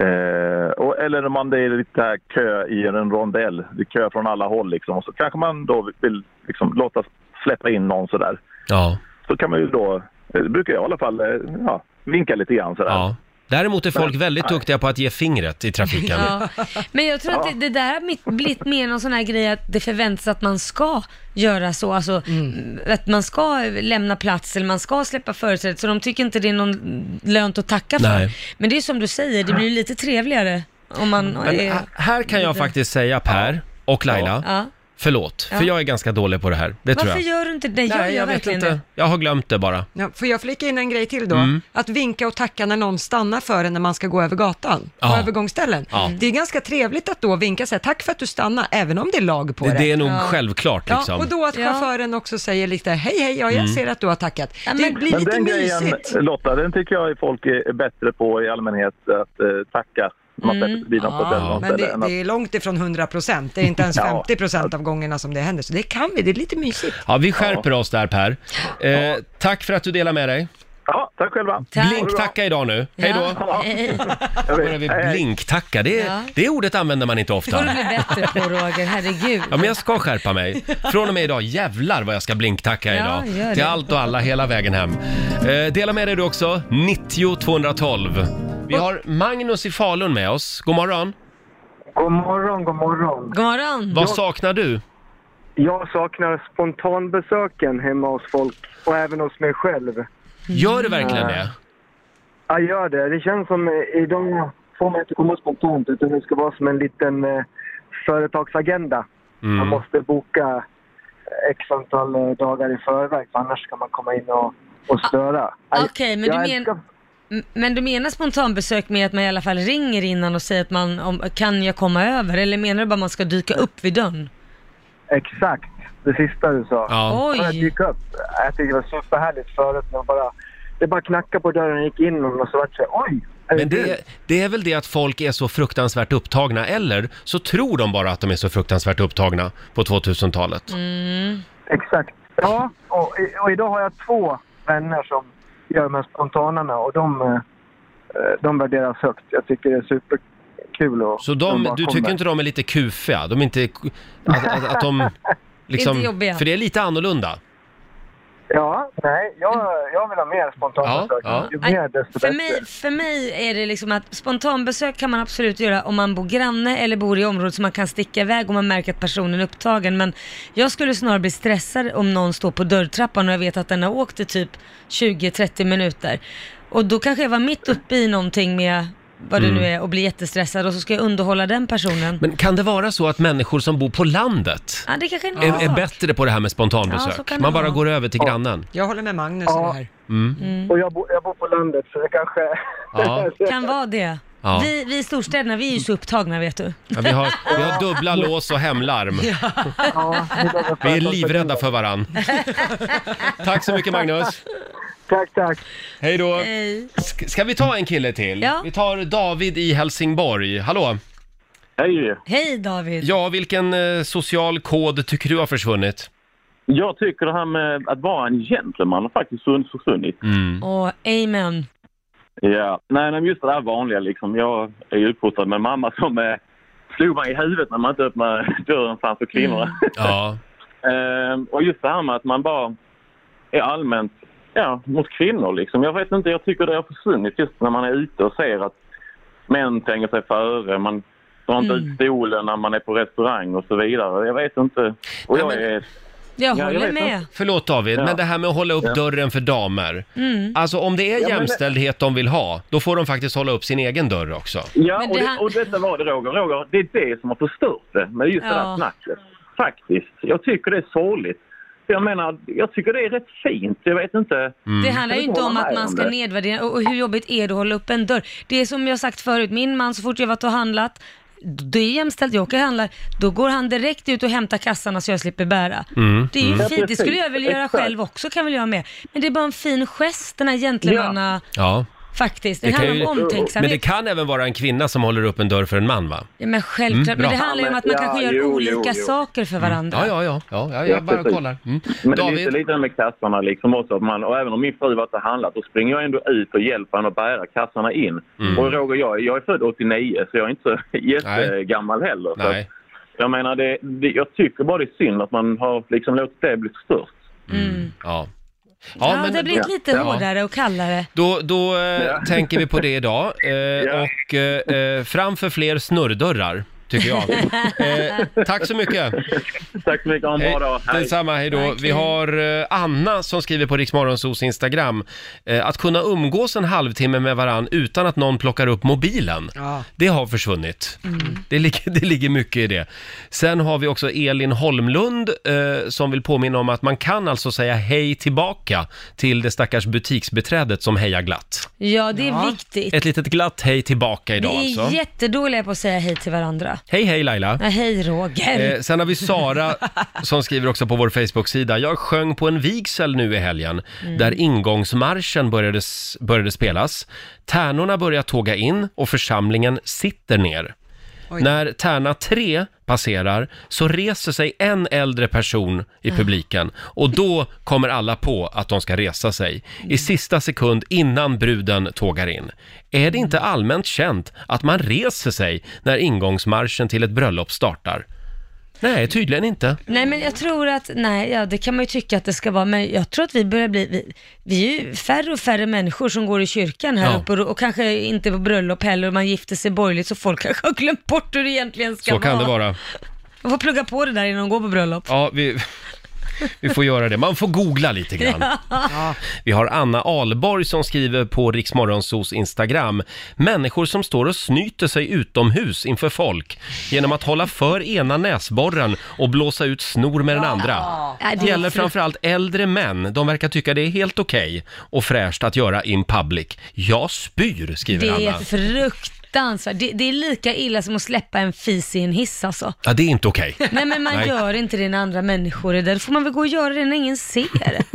[SPEAKER 16] Eh, och, eller om man det är lite här kö i en rondell. Det är kö från alla håll liksom. Och så kanske man då vill liksom, låta släppa in någon sådär.
[SPEAKER 1] Ja.
[SPEAKER 16] Så kan man ju då, eh, det brukar jag i alla fall, eh, ja, vinka lite grann sådär.
[SPEAKER 1] Däremot är folk
[SPEAKER 16] Men-
[SPEAKER 1] väldigt
[SPEAKER 16] nej.
[SPEAKER 1] duktiga på att ge fingret i trafiken.
[SPEAKER 2] Ja. Men jag tror att det, det där har mitt- blivit mer någon sån här grej att det förväntas att man ska göra så, alltså
[SPEAKER 1] Mm.
[SPEAKER 2] att man ska lämna plats eller man ska släppa företräde, så de tycker inte det är någon lönt att tacka för.
[SPEAKER 1] Nej.
[SPEAKER 2] Men det är som du säger, det blir ju lite trevligare om man
[SPEAKER 1] Men äh,
[SPEAKER 2] är...
[SPEAKER 1] hä- här kan jag
[SPEAKER 2] lite-
[SPEAKER 1] faktiskt säga Per och Laila,
[SPEAKER 2] Ja.
[SPEAKER 1] förlåt, för
[SPEAKER 2] Ja.
[SPEAKER 1] jag är ganska dålig på det här. Det tror
[SPEAKER 3] Varför
[SPEAKER 1] jag.
[SPEAKER 3] gör
[SPEAKER 2] du inte det? Jag
[SPEAKER 3] gör
[SPEAKER 1] jag
[SPEAKER 3] verkligen
[SPEAKER 1] inte.
[SPEAKER 3] det.
[SPEAKER 1] Jag har glömt det bara.
[SPEAKER 3] Ja, får jag flika in en grej till då?
[SPEAKER 1] Mm.
[SPEAKER 3] Att vinka och tacka när någon stannar för en när man ska gå över gatan, på
[SPEAKER 1] Ja.
[SPEAKER 3] övergångsställen.
[SPEAKER 1] Ja.
[SPEAKER 3] Det är ganska trevligt att då vinka och säga tack för att du stannade, även om det är lag på
[SPEAKER 1] Det,
[SPEAKER 3] det.
[SPEAKER 1] det är nog självklart liksom.
[SPEAKER 3] Ja, och då att
[SPEAKER 2] Ja.
[SPEAKER 3] chauffören också säger lite hej hej, ja, jag
[SPEAKER 1] Mm.
[SPEAKER 3] ser att du har tackat. det blir
[SPEAKER 16] Men
[SPEAKER 3] lite
[SPEAKER 16] den grejen
[SPEAKER 3] mysigt.
[SPEAKER 16] Lotta, den tycker jag folk är bättre på i allmänhet, att eh, tacka. när Man
[SPEAKER 3] Mm.
[SPEAKER 16] släpper förbi någon på ett eller
[SPEAKER 3] Ja,
[SPEAKER 16] något
[SPEAKER 3] men
[SPEAKER 16] ställe,
[SPEAKER 3] det,
[SPEAKER 16] än att-
[SPEAKER 3] det är långt ifrån 100 procent. Det är inte ens
[SPEAKER 1] Ja.
[SPEAKER 3] 50 procent av gångerna som det händer. Så det kan vi, det är lite mysigt.
[SPEAKER 1] Ja, vi skärper oss där Per. Eh, tack för att du delar med dig.
[SPEAKER 16] Ja, Tack själva.
[SPEAKER 1] Blinktacka idag nu. Hej då.
[SPEAKER 16] Ja.
[SPEAKER 2] Eh,
[SPEAKER 1] Då börjar vi blinktacka. Det, är-
[SPEAKER 2] Ja.
[SPEAKER 1] det ordet använder man inte
[SPEAKER 2] Det får
[SPEAKER 1] ofta.
[SPEAKER 2] du bli bättre på Roger, herregud.
[SPEAKER 1] Ja, men jag ska skärpa mig. Från och med idag, jävlar vad jag ska blinktacka
[SPEAKER 2] Ja,
[SPEAKER 1] idag.
[SPEAKER 2] gör det.
[SPEAKER 1] Till allt och alla, hela vägen hem. Eh, dela med dig du också, 90 212. Vi har Magnus i Falun med oss. God morgon.
[SPEAKER 17] God morgon, god morgon.
[SPEAKER 2] God morgon.
[SPEAKER 1] Vad saknar du?
[SPEAKER 17] Jag saknar spontanbesöken hemma hos folk och även hos mig själv.
[SPEAKER 1] Gör du verkligen
[SPEAKER 17] Ja.
[SPEAKER 1] det?
[SPEAKER 17] Jag gör det. Det känns som eh, idag får man inte komma spontant utan det ska vara som en liten eh, företagsagenda.
[SPEAKER 2] Mm.
[SPEAKER 17] Man måste boka x antal eh, dagar i förväg för annars kan man komma in och, och störa.
[SPEAKER 2] Ah, Okej, men, du
[SPEAKER 17] Jag
[SPEAKER 2] men, men du menar spontanbesök med att man i alla fall ringer innan och säger att man, om, kan jag komma över? Eller menar du bara att man ska dyka upp vid dörren?
[SPEAKER 17] Exakt, det sista du sa.
[SPEAKER 2] Ja. Oj.
[SPEAKER 17] Jag dyka upp. Jag tyckte det var superhärligt förut när man bara... Det bara knackade på dörren och gick in och så vart det så här, oj! är
[SPEAKER 1] Men
[SPEAKER 17] du?"
[SPEAKER 1] det, det är väl det att folk är så fruktansvärt upptagna, eller så tror de bara att de är så fruktansvärt upptagna på 2000-talet.
[SPEAKER 2] Mm.
[SPEAKER 17] Exakt. Ja, och, och idag har jag två vänner som gör de här spontanarna och de, eh, de värderas högt. Jag tycker det är superkul och
[SPEAKER 1] Så de,
[SPEAKER 17] bara
[SPEAKER 1] du tycker
[SPEAKER 17] kommer.
[SPEAKER 1] inte de är lite kufiga? De är inte... Att, att, att de... Liksom,
[SPEAKER 17] Inte jobbiga.
[SPEAKER 1] För det är lite annorlunda.
[SPEAKER 17] Ja, nej, jag, jag vill ha mer spontana
[SPEAKER 1] Ja,
[SPEAKER 17] saker.
[SPEAKER 1] ja.
[SPEAKER 17] Ju mer desto
[SPEAKER 2] För
[SPEAKER 17] bättre.
[SPEAKER 2] mig, för mig är det liksom att spontanbesök kan man absolut göra om man bor granne eller bor i området så man kan sticka iväg om man märker att personen är upptagen. Men jag skulle snarare bli stressad om någon står på dörrtrappan och jag vet att den har åkt i typ 20-30 minuter. Och då kanske jag var mitt uppe i någonting med vad det
[SPEAKER 1] Mm.
[SPEAKER 2] nu är och blir jättestressad och så ska jag underhålla den personen.
[SPEAKER 1] Men kan det vara så att människor som bor på landet
[SPEAKER 2] Ja, det kanske är en
[SPEAKER 1] är, är
[SPEAKER 2] annan sak.
[SPEAKER 1] bättre på det här med
[SPEAKER 2] Ja,
[SPEAKER 1] spontanbesök?
[SPEAKER 2] så kan det
[SPEAKER 1] Man bara
[SPEAKER 2] vara.
[SPEAKER 1] går över till grannen.
[SPEAKER 3] Jag håller med Magnus i det här.
[SPEAKER 1] Mm.
[SPEAKER 17] Och jag, bo, jag bor på landet så det kanske...
[SPEAKER 1] Ja.
[SPEAKER 2] Kan vara det.
[SPEAKER 1] Ja.
[SPEAKER 2] Vi, vi i storstäderna, vi är ju så upptagna vet du.
[SPEAKER 1] Ja, vi, har, vi har dubbla lås och hemlarm. Vi är livrädda för varann. Tack så mycket Magnus.
[SPEAKER 17] Tack, tack.
[SPEAKER 1] Hej då.
[SPEAKER 2] Hej.
[SPEAKER 1] S- Ska vi ta en kille till?
[SPEAKER 2] Ja.
[SPEAKER 1] Vi tar David i Helsingborg. Hallå!
[SPEAKER 18] Hej!
[SPEAKER 2] Hej David.
[SPEAKER 1] Ja, vilken eh, social kod tycker du har försvunnit?
[SPEAKER 18] Jag tycker det här med att vara en gentleman har faktiskt försvunn- försvunnit.
[SPEAKER 2] Åh, amen.
[SPEAKER 18] Ja, nej, nej, men just det här vanliga liksom. Jag är ju uppfostrad med en mamma som eh, slog mig i huvudet när man inte öppnade dörren framför kvinnorna.
[SPEAKER 1] Ja.
[SPEAKER 18] Ehm, och just det här med att man bara är allmänt ja, mot kvinnor liksom. Jag vet inte, jag tycker det har försvunnit just när man är ute och ser att män tänker sig före. Man drar inte ut stolen när man är på restaurang och så vidare. Jag vet inte. Och jag är...
[SPEAKER 2] Jag
[SPEAKER 18] Ja, jag
[SPEAKER 2] håller
[SPEAKER 18] vet
[SPEAKER 2] med.
[SPEAKER 18] inte.
[SPEAKER 1] Förlåt David,
[SPEAKER 18] Ja.
[SPEAKER 1] men det här med att hålla upp dörren för damer.
[SPEAKER 2] Mm.
[SPEAKER 1] Alltså om det är
[SPEAKER 18] Ja, men-
[SPEAKER 1] jämställdhet de vill ha, då får de faktiskt hålla upp sin egen dörr också.
[SPEAKER 18] Ja,
[SPEAKER 2] Men
[SPEAKER 18] och,
[SPEAKER 2] det
[SPEAKER 18] det,
[SPEAKER 2] han-
[SPEAKER 18] och detta var det Roger. Roger, det är det som har förstört det med just det
[SPEAKER 2] Ja.
[SPEAKER 18] där snacket. Faktiskt. Jag tycker det är sorgligt. Jag menar, jag tycker det är rätt fint. Jag vet inte.
[SPEAKER 1] Mm.
[SPEAKER 2] Det handlar ju inte om att man ska nedvärdera och och hur jobbigt är det att hålla upp en dörr. Det är som jag sagt förut, min man så fort jag varit och handlat, det är jämställt, jag åker och handlar, då går han direkt ut och hämtar kassarna så jag slipper bära.
[SPEAKER 1] Mm,
[SPEAKER 2] Det är ju
[SPEAKER 1] mm.
[SPEAKER 2] fint, det skulle jag vilja göra
[SPEAKER 1] Exakt.
[SPEAKER 2] själv också kan väl jag med. Men det är bara en fin gest den här gentlemanna,
[SPEAKER 1] Ja.
[SPEAKER 2] faktiskt. Det, handlar
[SPEAKER 1] men
[SPEAKER 2] om
[SPEAKER 1] det
[SPEAKER 2] omtänksamhet.
[SPEAKER 1] kan även vara en kvinna som håller upp en dörr för en man va?
[SPEAKER 2] Ja, men självklart,
[SPEAKER 1] Mm,
[SPEAKER 2] men
[SPEAKER 1] bra.
[SPEAKER 2] det handlar ju om att man
[SPEAKER 18] Ja,
[SPEAKER 2] kanske gör
[SPEAKER 18] jo, jo,
[SPEAKER 2] olika
[SPEAKER 18] jo.
[SPEAKER 2] saker för varandra.
[SPEAKER 1] Ja, ja, ja. ja, ja
[SPEAKER 18] Ja,
[SPEAKER 1] jag bara
[SPEAKER 18] precis.
[SPEAKER 1] kollar. Mm.
[SPEAKER 18] Men det är
[SPEAKER 1] David?
[SPEAKER 18] lite, lite det med kassarna liksom också. Att man, och även om min fru varit och handlat, då springer jag ändå ut och hjälper henne att bära kassarna in.
[SPEAKER 1] Mm.
[SPEAKER 18] Och Roger, jag, jag är född 89 så jag är inte så jättegammal heller. Så
[SPEAKER 1] Nej.
[SPEAKER 18] att, jag menar, det, det, jag tycker bara det är synd att man har liksom låtit det bli förstört.
[SPEAKER 1] Mm. Ja.
[SPEAKER 2] Ja, det har blivit lite hårdare och kallare.
[SPEAKER 1] Då, då eh, tänker vi på det idag. Eh, Och eh, eh, framför fler snurrdörrar, tycker jag. eh, tack så mycket.
[SPEAKER 18] Tack så mycket, ha en bra dag. Hej.
[SPEAKER 1] Detsamma, hej då. Vi har eh, Anna som skriver på Riksmorgonsos Instagram. Eh, att kunna umgås en halvtimme med varann utan att någon plockar upp mobilen,
[SPEAKER 3] Ja.
[SPEAKER 1] det har försvunnit. Det, ligger, det ligger mycket i det. Sen har vi också Elin Holmlund eh, som vill påminna om att man kan alltså säga hej tillbaka till det stackars butiksbeträdet som hejar glatt.
[SPEAKER 2] Ja, det är viktigt.
[SPEAKER 1] Ett litet glatt hej tillbaka idag
[SPEAKER 2] Vi är
[SPEAKER 1] alltså.
[SPEAKER 2] jättedåliga på att säga hej till varandra.
[SPEAKER 1] Hej, hej Laila.
[SPEAKER 2] Nej, hej Roger.
[SPEAKER 1] Eh, sen har vi Sara som skriver också på vår Facebook-sida. Jag sjöng på en vigsel nu i helgen
[SPEAKER 2] Mm.
[SPEAKER 1] där ingångsmarschen började, s- började spelas. Tärnorna börjar tåga in och församlingen sitter ner. När tärna 3 passerar så reser sig en äldre person i
[SPEAKER 19] Ah.
[SPEAKER 1] publiken och då kommer alla på att de ska resa sig i sista sekund innan bruden tågar in. Är det inte allmänt känt att man reser sig när ingångsmarschen till ett bröllop startar? Nej, tydligen inte.
[SPEAKER 2] Nej men jag tror att, nej ja, det kan man ju tycka att det ska vara, men jag tror att vi börjar bli, vi, vi är ju färre och färre människor som går i kyrkan här
[SPEAKER 1] Ja.
[SPEAKER 2] uppe och, och kanske inte på bröllop heller och man gifter sig borgerligt så folk kanske har glömt bort hur det egentligen ska
[SPEAKER 1] Så
[SPEAKER 2] vara.
[SPEAKER 1] kan det vara.
[SPEAKER 2] Man får plugga på det där innan de går på bröllop.
[SPEAKER 1] Ja, vi, vi får göra det. Man får googla lite grann.
[SPEAKER 2] Ja.
[SPEAKER 1] Vi har Anna Alborg som skriver på Riksmorgonsos Instagram. Människor som står och snyter sig utomhus inför folk genom att hålla för ena näsborren och blåsa ut snor med den andra.
[SPEAKER 2] Ja, det
[SPEAKER 1] Det
[SPEAKER 2] är
[SPEAKER 1] gäller
[SPEAKER 2] frukt-
[SPEAKER 1] framförallt äldre män. De verkar tycka det är helt okej och fräscht att göra in public. Jag spyr, skriver
[SPEAKER 2] Det
[SPEAKER 1] Anna.
[SPEAKER 2] är fruktansvärt. Det, det är lika illa som att släppa en fis i en hiss alltså.
[SPEAKER 1] Ja, det är inte okej.
[SPEAKER 2] Nej men man
[SPEAKER 1] Nej.
[SPEAKER 2] gör inte det när andra människor är där. Då får man väl gå och göra det när ingen ser.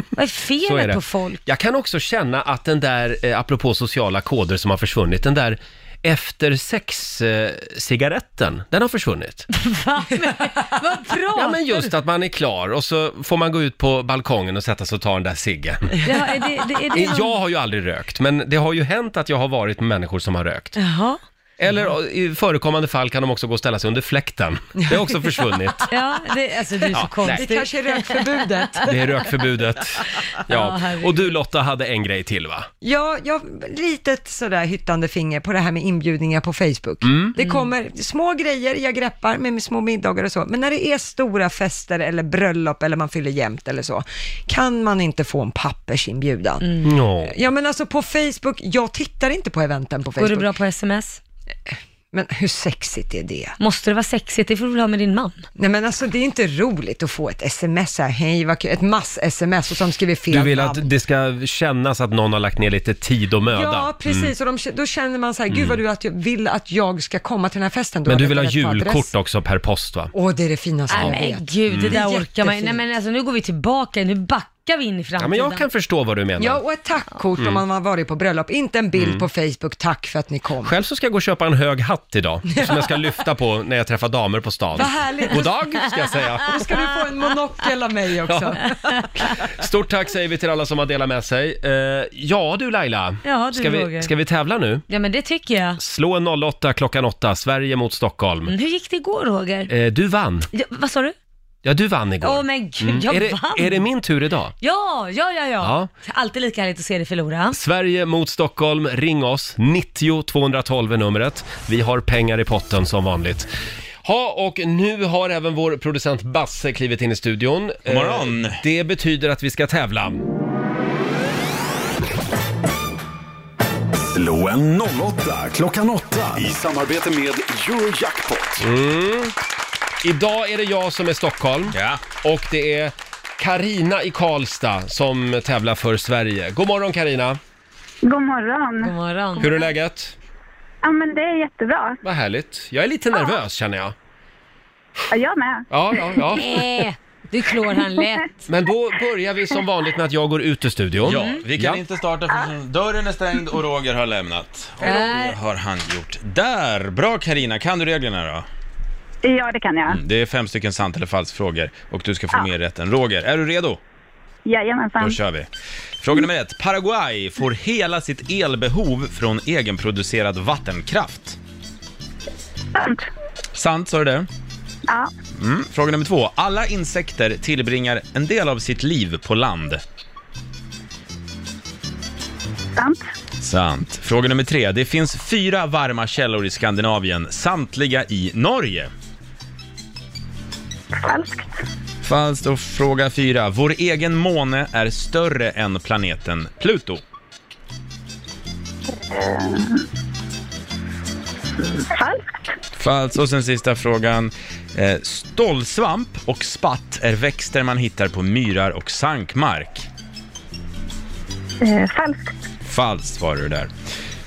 [SPEAKER 2] Vad är
[SPEAKER 1] Så
[SPEAKER 2] felet
[SPEAKER 1] är det.
[SPEAKER 2] på folk?
[SPEAKER 1] Jag kan också känna att den där, eh, apropå sociala koder som har försvunnit, den där efter sex-cigaretten, den har försvunnit.
[SPEAKER 2] Vad pratar
[SPEAKER 1] Ja, men just att man är klar och så får man gå ut på balkongen och sätta sig och ta den där ciggen.
[SPEAKER 2] Ja, är det, det, är det någon-
[SPEAKER 1] Jag har ju aldrig rökt, men det har ju hänt att jag har varit med människor som har rökt.
[SPEAKER 2] Jaha.
[SPEAKER 1] Eller eh, i förekommande fall kan de också gå och ställa sig under fläkten. Det har också försvunnit.
[SPEAKER 2] Ja, det, alltså det är så
[SPEAKER 1] Ja,
[SPEAKER 2] konstigt.
[SPEAKER 1] nej.
[SPEAKER 3] kanske är rökförbudet.
[SPEAKER 1] Det är rökförbudet.
[SPEAKER 3] Ja,
[SPEAKER 1] Ja.
[SPEAKER 3] herregud.
[SPEAKER 1] Och du Lotta hade en grej till va?
[SPEAKER 3] Ja, jag litet sådär hyttande finger på det här med inbjudningar på Facebook.
[SPEAKER 1] Mm.
[SPEAKER 3] Det kommer små grejer jag greppar med små middagar och så, men när det är stora fester eller bröllop eller man fyller jämnt eller så, kan man inte få en pappersinbjudan?
[SPEAKER 1] Mm. No.
[SPEAKER 3] Ja men alltså på Facebook, jag tittar inte på eventen på
[SPEAKER 2] Går
[SPEAKER 3] Facebook.
[SPEAKER 2] det bra på sms?
[SPEAKER 3] Men hur sexigt är det?
[SPEAKER 2] Måste det vara sexigt? Det får du väl ha med din man?
[SPEAKER 3] Nej men alltså det är inte roligt att få ett sms här, hej vad kul, ett mass-sms och som skriver fel
[SPEAKER 1] Du vill
[SPEAKER 3] namn.
[SPEAKER 1] att det ska kännas att någon har lagt ner lite tid och möda.
[SPEAKER 3] Ja,
[SPEAKER 1] Mm.
[SPEAKER 3] precis. Och de, då känner man så här, gud vad du att jag vill att jag ska komma till den här festen. Då
[SPEAKER 1] Men
[SPEAKER 3] har
[SPEAKER 1] du
[SPEAKER 3] jag
[SPEAKER 1] vill ha
[SPEAKER 3] rätt på adress.
[SPEAKER 1] julkort också per post va?
[SPEAKER 3] Åh, det är det finaste
[SPEAKER 1] Ja.
[SPEAKER 3] jag
[SPEAKER 1] Nej,
[SPEAKER 3] vet.
[SPEAKER 2] Gud, det där orkar man ju- Nej
[SPEAKER 3] Jättefint.
[SPEAKER 2] men alltså nu går vi tillbaka, nu backar vi in i framtiden.
[SPEAKER 1] Mm. Ja, men jag kan förstå vad du menar.
[SPEAKER 3] Ja, och ett tackkort
[SPEAKER 1] Mm.
[SPEAKER 3] om man har varit på bröllop. Inte en bild
[SPEAKER 1] Mm.
[SPEAKER 3] på Facebook, tack för att ni kom.
[SPEAKER 1] Själv så ska jag gå och köpa en hög hatt idag, som jag ska lyfta på när jag träffar damer på stan.
[SPEAKER 3] Vad härligt.
[SPEAKER 1] God dag, ska jag säga.
[SPEAKER 3] Då ska du få en monokel av mig också.
[SPEAKER 1] Stort tack säger vi till alla som har delat med sig. Eh, ja du Laila,
[SPEAKER 2] Ja, du,
[SPEAKER 1] ska, vi,
[SPEAKER 2] Roger.
[SPEAKER 1] ska vi tävla nu?
[SPEAKER 2] Ja men det tycker jag.
[SPEAKER 1] Slå en 08 klockan 8, Sverige mot Stockholm.
[SPEAKER 2] Mm, Hur gick det igår Roger?
[SPEAKER 1] Eh, du vann.
[SPEAKER 2] Ja, vad sa du?
[SPEAKER 1] Ja, du vann igår.
[SPEAKER 2] Åh men gud,
[SPEAKER 1] Mm.
[SPEAKER 2] jag
[SPEAKER 1] är, det,
[SPEAKER 2] vann!
[SPEAKER 1] är det min tur idag?
[SPEAKER 2] Ja, ja, ja, ja,
[SPEAKER 1] Ja.
[SPEAKER 2] Alltid lika härligt att se dig förlora.
[SPEAKER 1] Sverige mot Stockholm, ring oss. 90 212 är numret. Vi har pengar i potten som vanligt. Ja, och nu har även vår producent Basse klivit in i studion.
[SPEAKER 5] God morgon.
[SPEAKER 1] Eh, Det betyder att vi ska tävla.
[SPEAKER 4] Slå en 08 klockan 8 i samarbete med Eurojackpot.
[SPEAKER 1] Mm. Idag är det jag som är Stockholm och det är Karina i Karlstad som tävlar för Sverige. God morgon Karina.
[SPEAKER 20] God morgon.
[SPEAKER 2] God morgon.
[SPEAKER 1] Hur är läget?
[SPEAKER 20] Ja, men det är jättebra.
[SPEAKER 1] Vad härligt. Jag är lite nervös känner jag.
[SPEAKER 20] Ja, jag med.
[SPEAKER 1] Ja, ja, ja.
[SPEAKER 2] Nej, Eh, du klår han lätt.
[SPEAKER 1] Men då börjar vi som vanligt med att jag går ut ur studion.
[SPEAKER 5] Ja, vi kan inte starta förrän dörren är stängd och Roger har lämnat. Och
[SPEAKER 20] Äh.
[SPEAKER 5] det har han gjort. Där! Bra Karina, kan du reglerna då?
[SPEAKER 20] Ja, det kan jag.
[SPEAKER 5] Det är fem stycken sant eller falskt frågor och du ska få mer rätt än Roger. Är du redo?
[SPEAKER 20] Jajamensan.
[SPEAKER 5] Då kör vi. Fråga nummer ett. Paraguay får hela sitt elbehov från egenproducerad vattenkraft.
[SPEAKER 20] Sant.
[SPEAKER 5] Sant, sa du det?
[SPEAKER 20] Ja,
[SPEAKER 5] Mm. Fråga nummer två. Alla insekter tillbringar en del av sitt liv på land.
[SPEAKER 20] sant.
[SPEAKER 5] Sant. Fråga nummer tre. Det finns fyra varma källor i Skandinavien, samtliga i Norge.
[SPEAKER 20] Falskt.
[SPEAKER 5] Falskt. Och fråga fyra. Vår egen måne är större än planeten Pluto.
[SPEAKER 20] Eh, Falskt.
[SPEAKER 5] Falskt. Och sen sista frågan. Eh, Stålsvamp och spatt är växter man hittar på myrar och sankmark.
[SPEAKER 20] Eh, falskt.
[SPEAKER 5] Falskt var det där.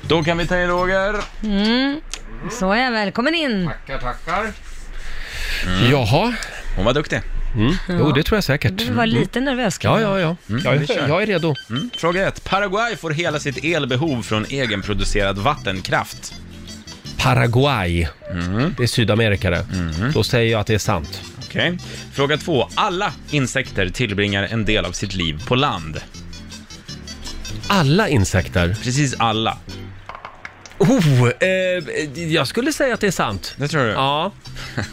[SPEAKER 5] Då kan vi ta in Roger.
[SPEAKER 2] Mm. Så är jag, välkommen in.
[SPEAKER 1] Tackar, tackar. Mm. Jaha.
[SPEAKER 5] Hon var duktig.
[SPEAKER 1] Mm. Jo, det tror jag säkert.
[SPEAKER 2] Du var lite nervös
[SPEAKER 1] Ja,
[SPEAKER 2] kanske.
[SPEAKER 1] ja, ja. Jag, är, jag är redo.
[SPEAKER 5] Mm. Fråga ett. Paraguay får hela sitt elbehov från egenproducerad vattenkraft.
[SPEAKER 1] Paraguay.
[SPEAKER 5] Mm.
[SPEAKER 1] Det är Sydamerika det. Då säger jag att det är sant.
[SPEAKER 5] Okej. Fråga två. Alla insekter tillbringar en del av sitt liv på land.
[SPEAKER 1] Alla insekter?
[SPEAKER 5] Precis alla.
[SPEAKER 1] Oh, eh, jag skulle säga att det är sant.
[SPEAKER 5] Det tror du?
[SPEAKER 1] Ja.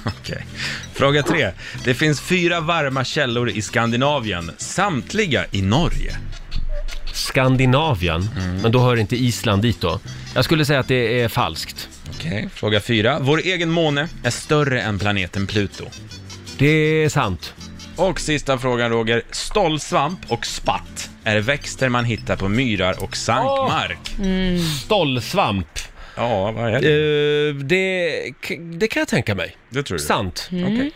[SPEAKER 5] Okej. Fråga tre. Det finns fyra varma källor i Skandinavien, samtliga i Norge.
[SPEAKER 1] Skandinavien,
[SPEAKER 5] Mm.
[SPEAKER 1] men då hör inte Island dit då. Jag skulle säga att det är falskt.
[SPEAKER 5] Okej, fråga fyra. Vår egen måne är större än planeten Pluto.
[SPEAKER 1] Det är sant.
[SPEAKER 5] Och sista frågan Roger. Stolsvamp och spatt är växter man hittar på myrar och sankmark.
[SPEAKER 1] Stolsvamp.
[SPEAKER 5] Ja, vad är
[SPEAKER 1] det? Eh, det, det kan jag tänka mig.
[SPEAKER 5] Det tror du?
[SPEAKER 1] Sant.
[SPEAKER 5] Mm. Okej.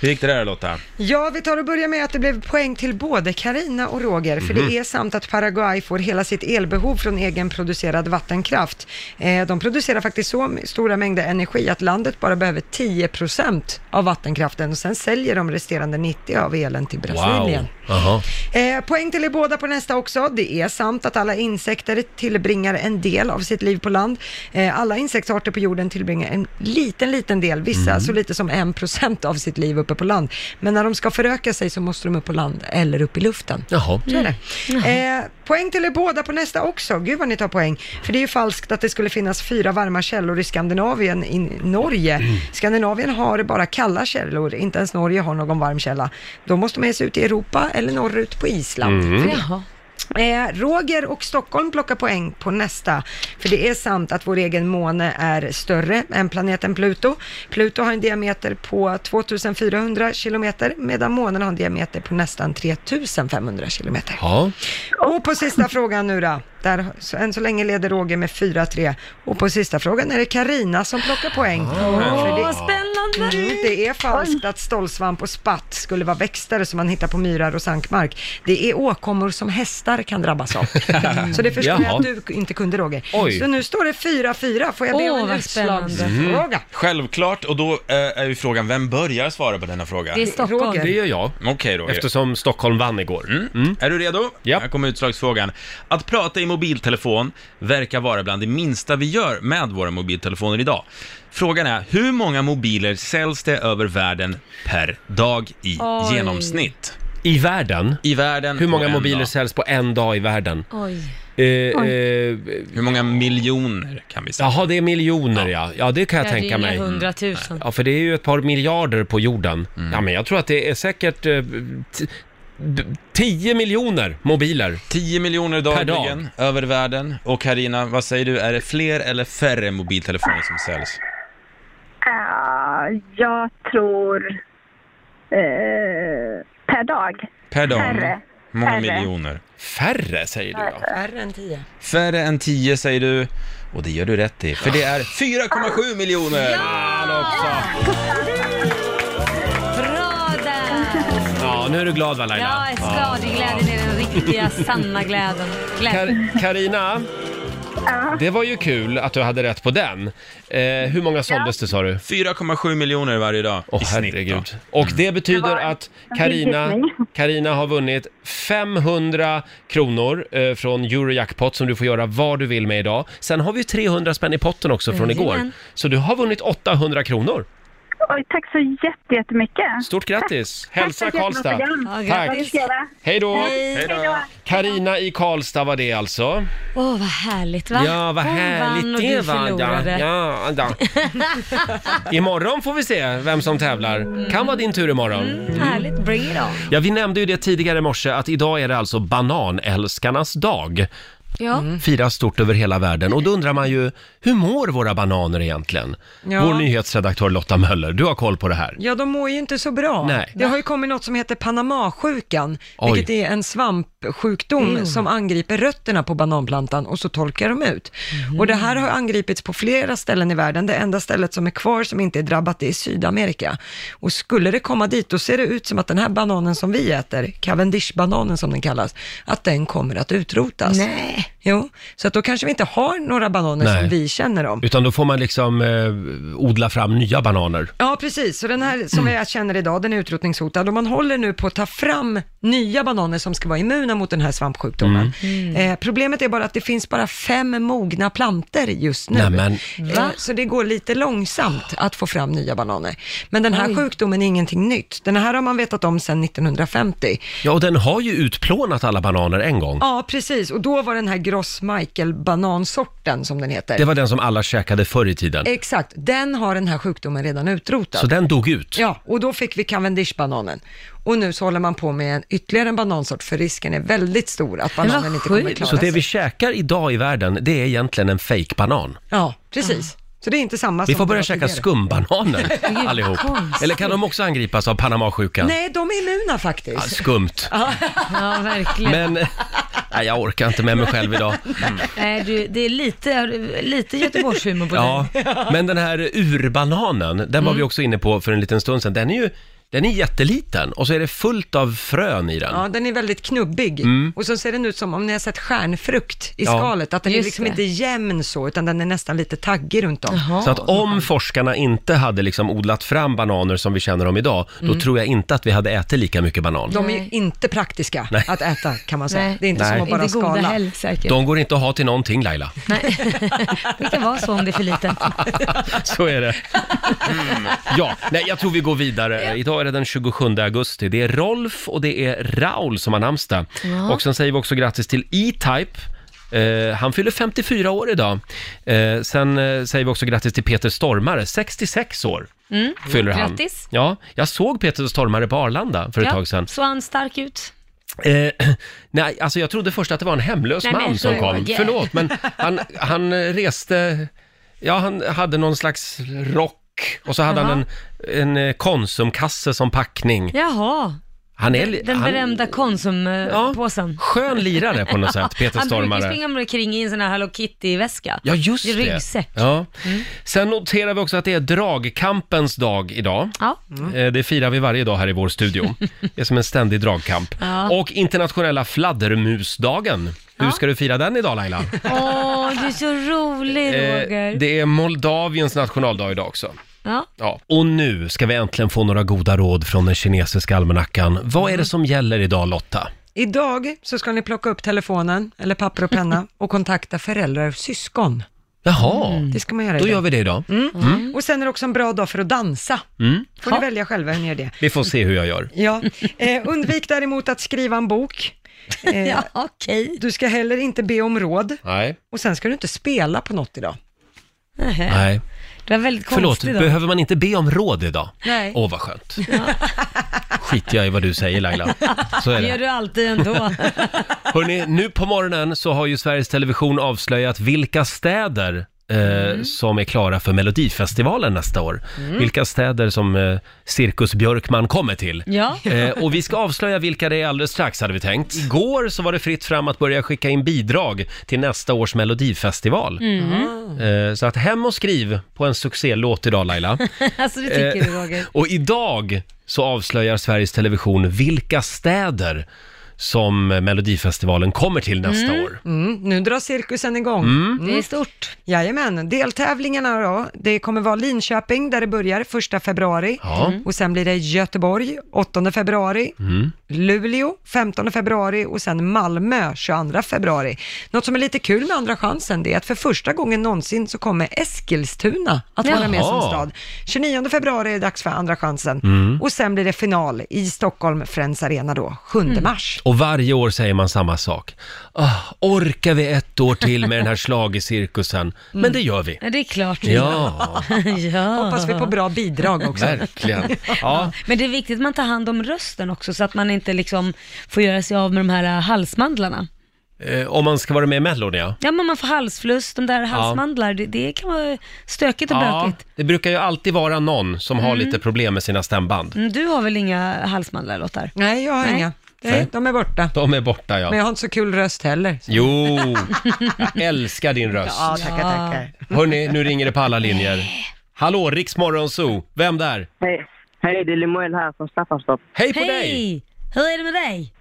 [SPEAKER 5] Hur gick det där Lotta?
[SPEAKER 3] Ja, vi tar och börjar med att det blev poäng till både Karina och Roger, för
[SPEAKER 5] Mhm.
[SPEAKER 3] det är sant att Paraguay får hela sitt elbehov från egenproducerad vattenkraft. Eh, de producerar faktiskt så m- stora mängder energi att landet bara behöver 10% av vattenkraften och sen säljer de resterande 90% av elen till Brasilien.
[SPEAKER 1] Jaha.
[SPEAKER 3] Eh, poäng till er båda på nästa också. Det är sant att alla insekter tillbringar en del av sitt liv på land. Eh, alla insektsarter på jorden tillbringar en liten, liten del, vissa
[SPEAKER 19] Mm.
[SPEAKER 3] så lite som 1% av sitt liv uppe på land. Men när de ska föröka sig så måste de upp på land eller upp i luften.
[SPEAKER 1] Jaha.
[SPEAKER 3] Så är det. Eh, poäng till er båda på nästa också. Gud vad ni tar poäng. För det är ju falskt att det skulle finnas fyra varma källor i Skandinavien, i Norge. Skandinavien har bara kalla källor, inte ens Norge har någon varm källa. Då måste man ge sig ut i Europa eller norrut på Island.
[SPEAKER 19] Mm.
[SPEAKER 3] För det- Eh, Roger och Stockholm plockar poäng på nästa, för det är sant att vår egen måne är större än planeten Pluto. Pluto har en diameter på 2400 kilometer, medan månen har en diameter på nästan 3500 kilometer.
[SPEAKER 1] Ja.
[SPEAKER 3] Och på sista frågan nu då, där så, än så länge leder Roger med 4-3. Och på sista frågan är det Karina som plockar poäng. För det-
[SPEAKER 2] Åh, spännande!
[SPEAKER 3] Mm, det är falskt att stolsvamp och spatt skulle vara växter som man hittar på myrar och sankmark. Det är åkommor som hästar kan drabbas av. Så det förstår jag
[SPEAKER 5] Jaha.
[SPEAKER 3] att du inte kunde Roger.
[SPEAKER 5] Oj.
[SPEAKER 3] Så nu står det 4-4. Får jag be
[SPEAKER 2] Åh,
[SPEAKER 3] om en
[SPEAKER 2] vad
[SPEAKER 5] Mm.
[SPEAKER 3] utslagsfråga?
[SPEAKER 5] Självklart, och då eh, är ju frågan, vem börjar svara på denna fråga?
[SPEAKER 3] Det är Stockholm. Roger.
[SPEAKER 1] Det gör jag. Mm.
[SPEAKER 5] Okej Roger. Mm.
[SPEAKER 1] Eftersom Stockholm vann igår.
[SPEAKER 5] Är du redo? Här kommer utslagsfrågan. Att prata i mobiltelefon verkar vara bland det minsta vi gör med våra mobiltelefoner idag. Frågan är, hur många mobiler säljs det över världen per dag i
[SPEAKER 2] Oj.
[SPEAKER 5] genomsnitt?
[SPEAKER 1] I världen?
[SPEAKER 5] I världen
[SPEAKER 1] Hur många
[SPEAKER 5] på en
[SPEAKER 1] mobiler
[SPEAKER 5] dag.
[SPEAKER 1] säljs på en dag i världen?
[SPEAKER 2] Oj.
[SPEAKER 1] Eh,
[SPEAKER 2] Oj.
[SPEAKER 1] eh,
[SPEAKER 5] Hur många miljoner kan vi säga?
[SPEAKER 1] Jaha, det är miljoner ja. Ja, det kan jag
[SPEAKER 2] Ja, det är
[SPEAKER 1] tänka
[SPEAKER 2] inga
[SPEAKER 1] mig.
[SPEAKER 2] hundratusen.
[SPEAKER 1] Ja, för det är ju ett par miljarder på jorden. Ja, men jag tror att det är säkert eh, t- d- 10 miljoner mobiler.
[SPEAKER 5] 10 miljoner
[SPEAKER 1] Per dag.
[SPEAKER 5] dagligen över världen. Och Karina, vad säger du? Är det fler eller färre mobiltelefoner som säljs?
[SPEAKER 20] Eh, jag tror eh, per dag.
[SPEAKER 5] Per dag?
[SPEAKER 20] Färre.
[SPEAKER 5] Mm. Många
[SPEAKER 20] Färre.
[SPEAKER 5] miljoner.
[SPEAKER 1] Färre säger du ja.
[SPEAKER 3] Färre än 10.
[SPEAKER 5] Färre än 10 säger du. Och det gör du rätt i, för det är 4,7 miljoner!
[SPEAKER 2] Bra där!
[SPEAKER 1] Ja, nu är du glad va Laila?
[SPEAKER 2] Ja, skadeglädjen är den riktiga sanna glädjen. Glädjen.
[SPEAKER 1] Kar- Karina, det var ju kul att du hade rätt på den. Eh, hur många såldes det sa du?
[SPEAKER 5] 4,7 miljoner varje dag i snitt. Herregud.
[SPEAKER 1] Och det betyder
[SPEAKER 5] Det var en
[SPEAKER 1] att Karina,
[SPEAKER 5] viltgissning.
[SPEAKER 1] Karina har vunnit 500 kronor eh, från Eurojackpot som du får göra vad du vill med idag. Sen har vi 300 spänn i potten också från
[SPEAKER 20] Jajamän.
[SPEAKER 1] igår. Så du har vunnit 800 kronor.
[SPEAKER 20] Oj, tack så jätte- jättemycket.
[SPEAKER 1] Stort grattis!
[SPEAKER 20] Tack.
[SPEAKER 1] Hälsa
[SPEAKER 20] Tack för ett jättebra
[SPEAKER 1] Karlstad!
[SPEAKER 20] program. Ja,
[SPEAKER 1] Tack!
[SPEAKER 20] grattis.
[SPEAKER 1] Hej då!
[SPEAKER 20] Hej. Hej då.
[SPEAKER 1] Karina i Karlstad var det alltså.
[SPEAKER 2] Åh, vad härligt va?
[SPEAKER 1] Ja, vad
[SPEAKER 2] Hon
[SPEAKER 1] härligt
[SPEAKER 2] vann och
[SPEAKER 1] det
[SPEAKER 2] du
[SPEAKER 1] var.
[SPEAKER 2] förlorade.
[SPEAKER 1] Ja, ja, då. Imorgon får vi se vem som tävlar. Kan vara din tur imorgon.
[SPEAKER 2] Mm. Härligt, bring it on.
[SPEAKER 1] Ja, vi nämnde ju det tidigare i morse att idag är det alltså bananälskarnas dag.
[SPEAKER 2] Ja.
[SPEAKER 3] Mm.
[SPEAKER 1] Firas stort över hela världen och då undrar man ju, hur mår våra bananer egentligen?
[SPEAKER 3] Ja.
[SPEAKER 1] Vår nyhetsredaktör Lotta Möller, du har koll på det här.
[SPEAKER 3] Ja, de mår ju inte så bra.
[SPEAKER 1] Nej.
[SPEAKER 3] Det har ju kommit något som heter Panamasjukan,
[SPEAKER 1] Oj.
[SPEAKER 3] vilket är en svampsjukdom
[SPEAKER 1] Mm.
[SPEAKER 3] som angriper rötterna på bananplantan och så torkar de ut. Och det här har angripits på flera ställen i världen. Det enda stället som är kvar som inte är drabbat det är Sydamerika. Och skulle det komma dit, då ser det ut som att den här bananen som vi äter, Cavendishbananen som den kallas, att den kommer att utrotas.
[SPEAKER 2] Nej.
[SPEAKER 3] Jo, så att då kanske vi inte har några bananer
[SPEAKER 1] Nej.
[SPEAKER 3] som vi känner dem.
[SPEAKER 1] Utan då får man liksom eh, odla fram nya bananer.
[SPEAKER 3] Ja, precis. Så den här som jag känner idag, den är utrotningshotad. Och man håller nu på att ta fram nya bananer som ska vara immuna mot den här svampsjukdomen.
[SPEAKER 1] Mm.
[SPEAKER 3] Eh, problemet är bara att det finns bara fem mogna planter just nu.
[SPEAKER 1] Nämen.
[SPEAKER 3] Eh, så det går lite långsamt att få fram nya bananer. Men den här
[SPEAKER 1] Oj.
[SPEAKER 3] sjukdomen är ingenting nytt. Den här har man vetat om sedan 1950.
[SPEAKER 1] Ja, och den har ju utplånat alla bananer en gång.
[SPEAKER 3] Ja, precis. Och då var den här Gross Michael-banansorten, som den heter.
[SPEAKER 1] Det var den som alla käkade förr i tiden.
[SPEAKER 3] Exakt. Den har den här sjukdomen redan utrotad.
[SPEAKER 1] Så den dog ut.
[SPEAKER 3] Ja, och då fick vi Cavendish-bananen. Och nu så håller man på med en, ytterligare en banansort, för risken är väldigt stor att bananen inte kommer klara
[SPEAKER 1] Så det
[SPEAKER 3] sig.
[SPEAKER 1] vi käkar idag i världen, det är egentligen en fake banan
[SPEAKER 3] Ja, precis. Så det är inte samma
[SPEAKER 1] Vi
[SPEAKER 3] som
[SPEAKER 1] får
[SPEAKER 3] det
[SPEAKER 1] börja
[SPEAKER 3] var
[SPEAKER 1] käka
[SPEAKER 3] tidigare.
[SPEAKER 1] skumbananer
[SPEAKER 3] Det är ju
[SPEAKER 1] allihop.
[SPEAKER 3] konstigt.
[SPEAKER 1] Eller kan de också angripas av Panamasjukan?
[SPEAKER 3] Nej, de är immuna
[SPEAKER 1] Ja,
[SPEAKER 3] faktiskt.
[SPEAKER 1] skumt.
[SPEAKER 2] Ja, verkligen.
[SPEAKER 1] Men, nej jag orkar inte med mig själv idag.
[SPEAKER 2] Nej, du, det är lite, lite Göteborgshumor på
[SPEAKER 1] Ja,
[SPEAKER 2] dig.
[SPEAKER 1] men den här urbananen, den var
[SPEAKER 3] Mm.
[SPEAKER 1] vi också inne på för en liten stund sedan. Den är ju, den är jätteliten och så är det fullt av frön i den.
[SPEAKER 3] Ja, den är väldigt knubbig.
[SPEAKER 1] Mm.
[SPEAKER 3] Och så ser den ut som om ni har sett stjärnfrukt i
[SPEAKER 1] Ja.
[SPEAKER 3] skalet, att den är
[SPEAKER 1] Just
[SPEAKER 3] liksom
[SPEAKER 1] det.
[SPEAKER 3] inte jämn så, utan den är nästan lite taggig runt om.
[SPEAKER 1] Så att om forskarna inte hade liksom odlat fram bananer som vi känner dem idag,
[SPEAKER 3] Mm.
[SPEAKER 1] då tror jag inte att vi hade ätit lika mycket banan.
[SPEAKER 3] De är ju inte praktiska
[SPEAKER 1] Nej.
[SPEAKER 3] att äta kan man säga.
[SPEAKER 2] Nej.
[SPEAKER 3] Det är inte
[SPEAKER 1] Nej.
[SPEAKER 3] som att bara
[SPEAKER 2] Inte goda
[SPEAKER 3] skala.
[SPEAKER 2] heller, säkert.
[SPEAKER 1] De går inte att ha till någonting Laila,
[SPEAKER 2] Det kan vara så om det är för litet.
[SPEAKER 1] så är det.
[SPEAKER 2] Mm.
[SPEAKER 1] Ja, nej, jag tror vi går vidare. Idag är det den 27 augusti. Det är Rolf och det är Raul som har namnsdag.
[SPEAKER 5] Ja.
[SPEAKER 1] Och sen säger vi också grattis till E-Type. Eh, han fyller 54 år idag. Eh, sen eh, säger vi också grattis till Peter Stormare, 66 år.
[SPEAKER 2] Mm.
[SPEAKER 1] Fyller han.
[SPEAKER 2] Grattis.
[SPEAKER 1] Ja, jag såg Peter Stormare på Arlanda för ett
[SPEAKER 2] Ja,
[SPEAKER 1] tag sedan.
[SPEAKER 2] Såg han stark ut?
[SPEAKER 1] Eh, nej, alltså jag trodde först att det var en hemlös
[SPEAKER 2] Nej, men,
[SPEAKER 1] man som
[SPEAKER 2] oj,
[SPEAKER 1] kom.
[SPEAKER 2] oj.
[SPEAKER 1] Förlåt, men han, han eh, reste... Ja, han hade någon slags rock och så hade han
[SPEAKER 2] Jaha.
[SPEAKER 1] en, en eh, Konsumkasse som packning.
[SPEAKER 2] Jaha.
[SPEAKER 1] Han är... li-
[SPEAKER 2] Den
[SPEAKER 1] han,
[SPEAKER 2] berömda eh, Konsumpåsen.
[SPEAKER 1] Skön lirare på något sätt, Peter
[SPEAKER 2] Han brukar
[SPEAKER 1] Stormare.
[SPEAKER 2] springa omkring i en sån här Hello Kitty-väska.
[SPEAKER 1] Ja, just
[SPEAKER 2] I
[SPEAKER 1] det.
[SPEAKER 2] ryggsäck. Mm.
[SPEAKER 1] Ja. Sen noterar vi också att det är dragkampens dag idag.
[SPEAKER 2] Ja.
[SPEAKER 1] Eh, Det firar vi varje dag här i vår studio. Det är som en ständig dragkamp.
[SPEAKER 2] Ja.
[SPEAKER 1] Och internationella fladdermusdagen. Hur ska du fira den idag Laila?
[SPEAKER 2] Åh, du är så rolig Roger.
[SPEAKER 1] Eh, det är Moldaviens nationaldag idag också.
[SPEAKER 2] Ja.
[SPEAKER 1] Ja. Och nu ska vi äntligen få några goda råd från den kinesiska almanackan. Vad är
[SPEAKER 2] Mm.
[SPEAKER 1] det som gäller idag Lotta?
[SPEAKER 3] Idag så ska ni plocka upp telefonen, eller papper och penna, och kontakta föräldrar och syskon.
[SPEAKER 1] Jaha,
[SPEAKER 2] Mm,
[SPEAKER 3] Det ska man göra
[SPEAKER 1] då
[SPEAKER 3] idag.
[SPEAKER 1] gör vi Mm. det idag. Mm. Mm.
[SPEAKER 3] Och sen är det också en bra dag för att dansa. Får ni välja själva hur ni gör det.
[SPEAKER 1] Vi får se hur jag gör.
[SPEAKER 3] Ja. Eh, undvik däremot att skriva en bok. Eh,
[SPEAKER 2] ja, okej.
[SPEAKER 3] Du ska heller inte be om råd.
[SPEAKER 2] Eh,
[SPEAKER 1] Nej.
[SPEAKER 3] Och sen ska du inte spela på något idag.
[SPEAKER 1] Nej.
[SPEAKER 2] Det var väldigt
[SPEAKER 1] Förlåt,
[SPEAKER 2] konstigt. då.
[SPEAKER 1] behöver man inte be om råd idag?
[SPEAKER 2] Nej.
[SPEAKER 1] Åh, vad skönt. Skiter jag i vad du säger Laila. Så är
[SPEAKER 2] gör
[SPEAKER 1] det.
[SPEAKER 2] du alltid ändå.
[SPEAKER 1] Hörrni, nu på morgonen så har ju Sveriges Television avslöjat vilka städer eh, som är klara för Melodifestivalen nästa år.
[SPEAKER 2] Mm.
[SPEAKER 1] Vilka städer som eh, Cirkus Björkman kommer till.
[SPEAKER 2] Ja.
[SPEAKER 1] Eh, och vi ska avslöja vilka det är alldeles strax hade vi tänkt. Igår så var det fritt fram att börja skicka in bidrag till nästa års melodifestival.
[SPEAKER 2] Mm.
[SPEAKER 1] Eh, så att hem och skriv på en succélåt idag Laila.
[SPEAKER 2] alltså det tycker
[SPEAKER 1] Eh,
[SPEAKER 2] du Roger.
[SPEAKER 1] Och idag så avslöjar Sveriges Television vilka städer som Melodifestivalen kommer till nästa
[SPEAKER 3] Mm.
[SPEAKER 1] år.
[SPEAKER 3] Mm. Nu drar cirkusen igång.
[SPEAKER 1] Mm.
[SPEAKER 2] Det är stort.
[SPEAKER 3] Jajamän. Deltävlingarna då, det kommer vara Linköping där det börjar 1 februari.
[SPEAKER 1] Ja. Mm.
[SPEAKER 3] Och sen blir det Göteborg 8 februari.
[SPEAKER 1] Mm.
[SPEAKER 3] Luleå 15 februari och sen Malmö 22 februari. Något som är lite kul med Andra chansen det är att för första gången någonsin så kommer Eskilstuna att vara med som
[SPEAKER 1] Jaha.
[SPEAKER 3] stad. 29 februari är det dags för Andra chansen
[SPEAKER 1] Mm.
[SPEAKER 3] och sen blir det final i Stockholm, Friends Arena då, 7 mars.
[SPEAKER 1] Och varje år säger man samma sak. Ah, orkar vi ett år till med den här schlagercirkusen?
[SPEAKER 2] Mm.
[SPEAKER 1] Men det gör vi.
[SPEAKER 2] Ja, det är klart.
[SPEAKER 1] Ja.
[SPEAKER 2] ja.
[SPEAKER 3] Hoppas vi på bra bidrag också.
[SPEAKER 1] Verkligen. Ja.
[SPEAKER 2] Men det är viktigt att man tar hand om rösten också så att man inte liksom får göra sig av med de här äh, halsmandlarna.
[SPEAKER 1] Eh, om man ska vara med i Mellon, ja.
[SPEAKER 2] Ja men man får halsfluss, de där halsmandlar, det, det kan vara stökigt och
[SPEAKER 1] ja.
[SPEAKER 2] bökigt.
[SPEAKER 1] Det brukar ju alltid vara någon som har
[SPEAKER 2] Mm.
[SPEAKER 1] lite problem med sina stämband.
[SPEAKER 2] Mm, Du har väl inga halsmandlar Lotta?
[SPEAKER 3] Nej, jag har inga. Nej, de är borta.
[SPEAKER 1] De är borta,
[SPEAKER 3] Men jag
[SPEAKER 1] ja.
[SPEAKER 3] har inte så kul röst heller.
[SPEAKER 1] Jo, jag älskar din röst.
[SPEAKER 3] Ja, tackar, tackar.
[SPEAKER 1] Hörni, nu ringer det på alla linjer. Hallå, Riks Morgonzoo. Vem där?
[SPEAKER 19] Hej, hej det är Limoel här från Staffanstorp.
[SPEAKER 1] Hej på
[SPEAKER 2] dig! Hur är det med dig?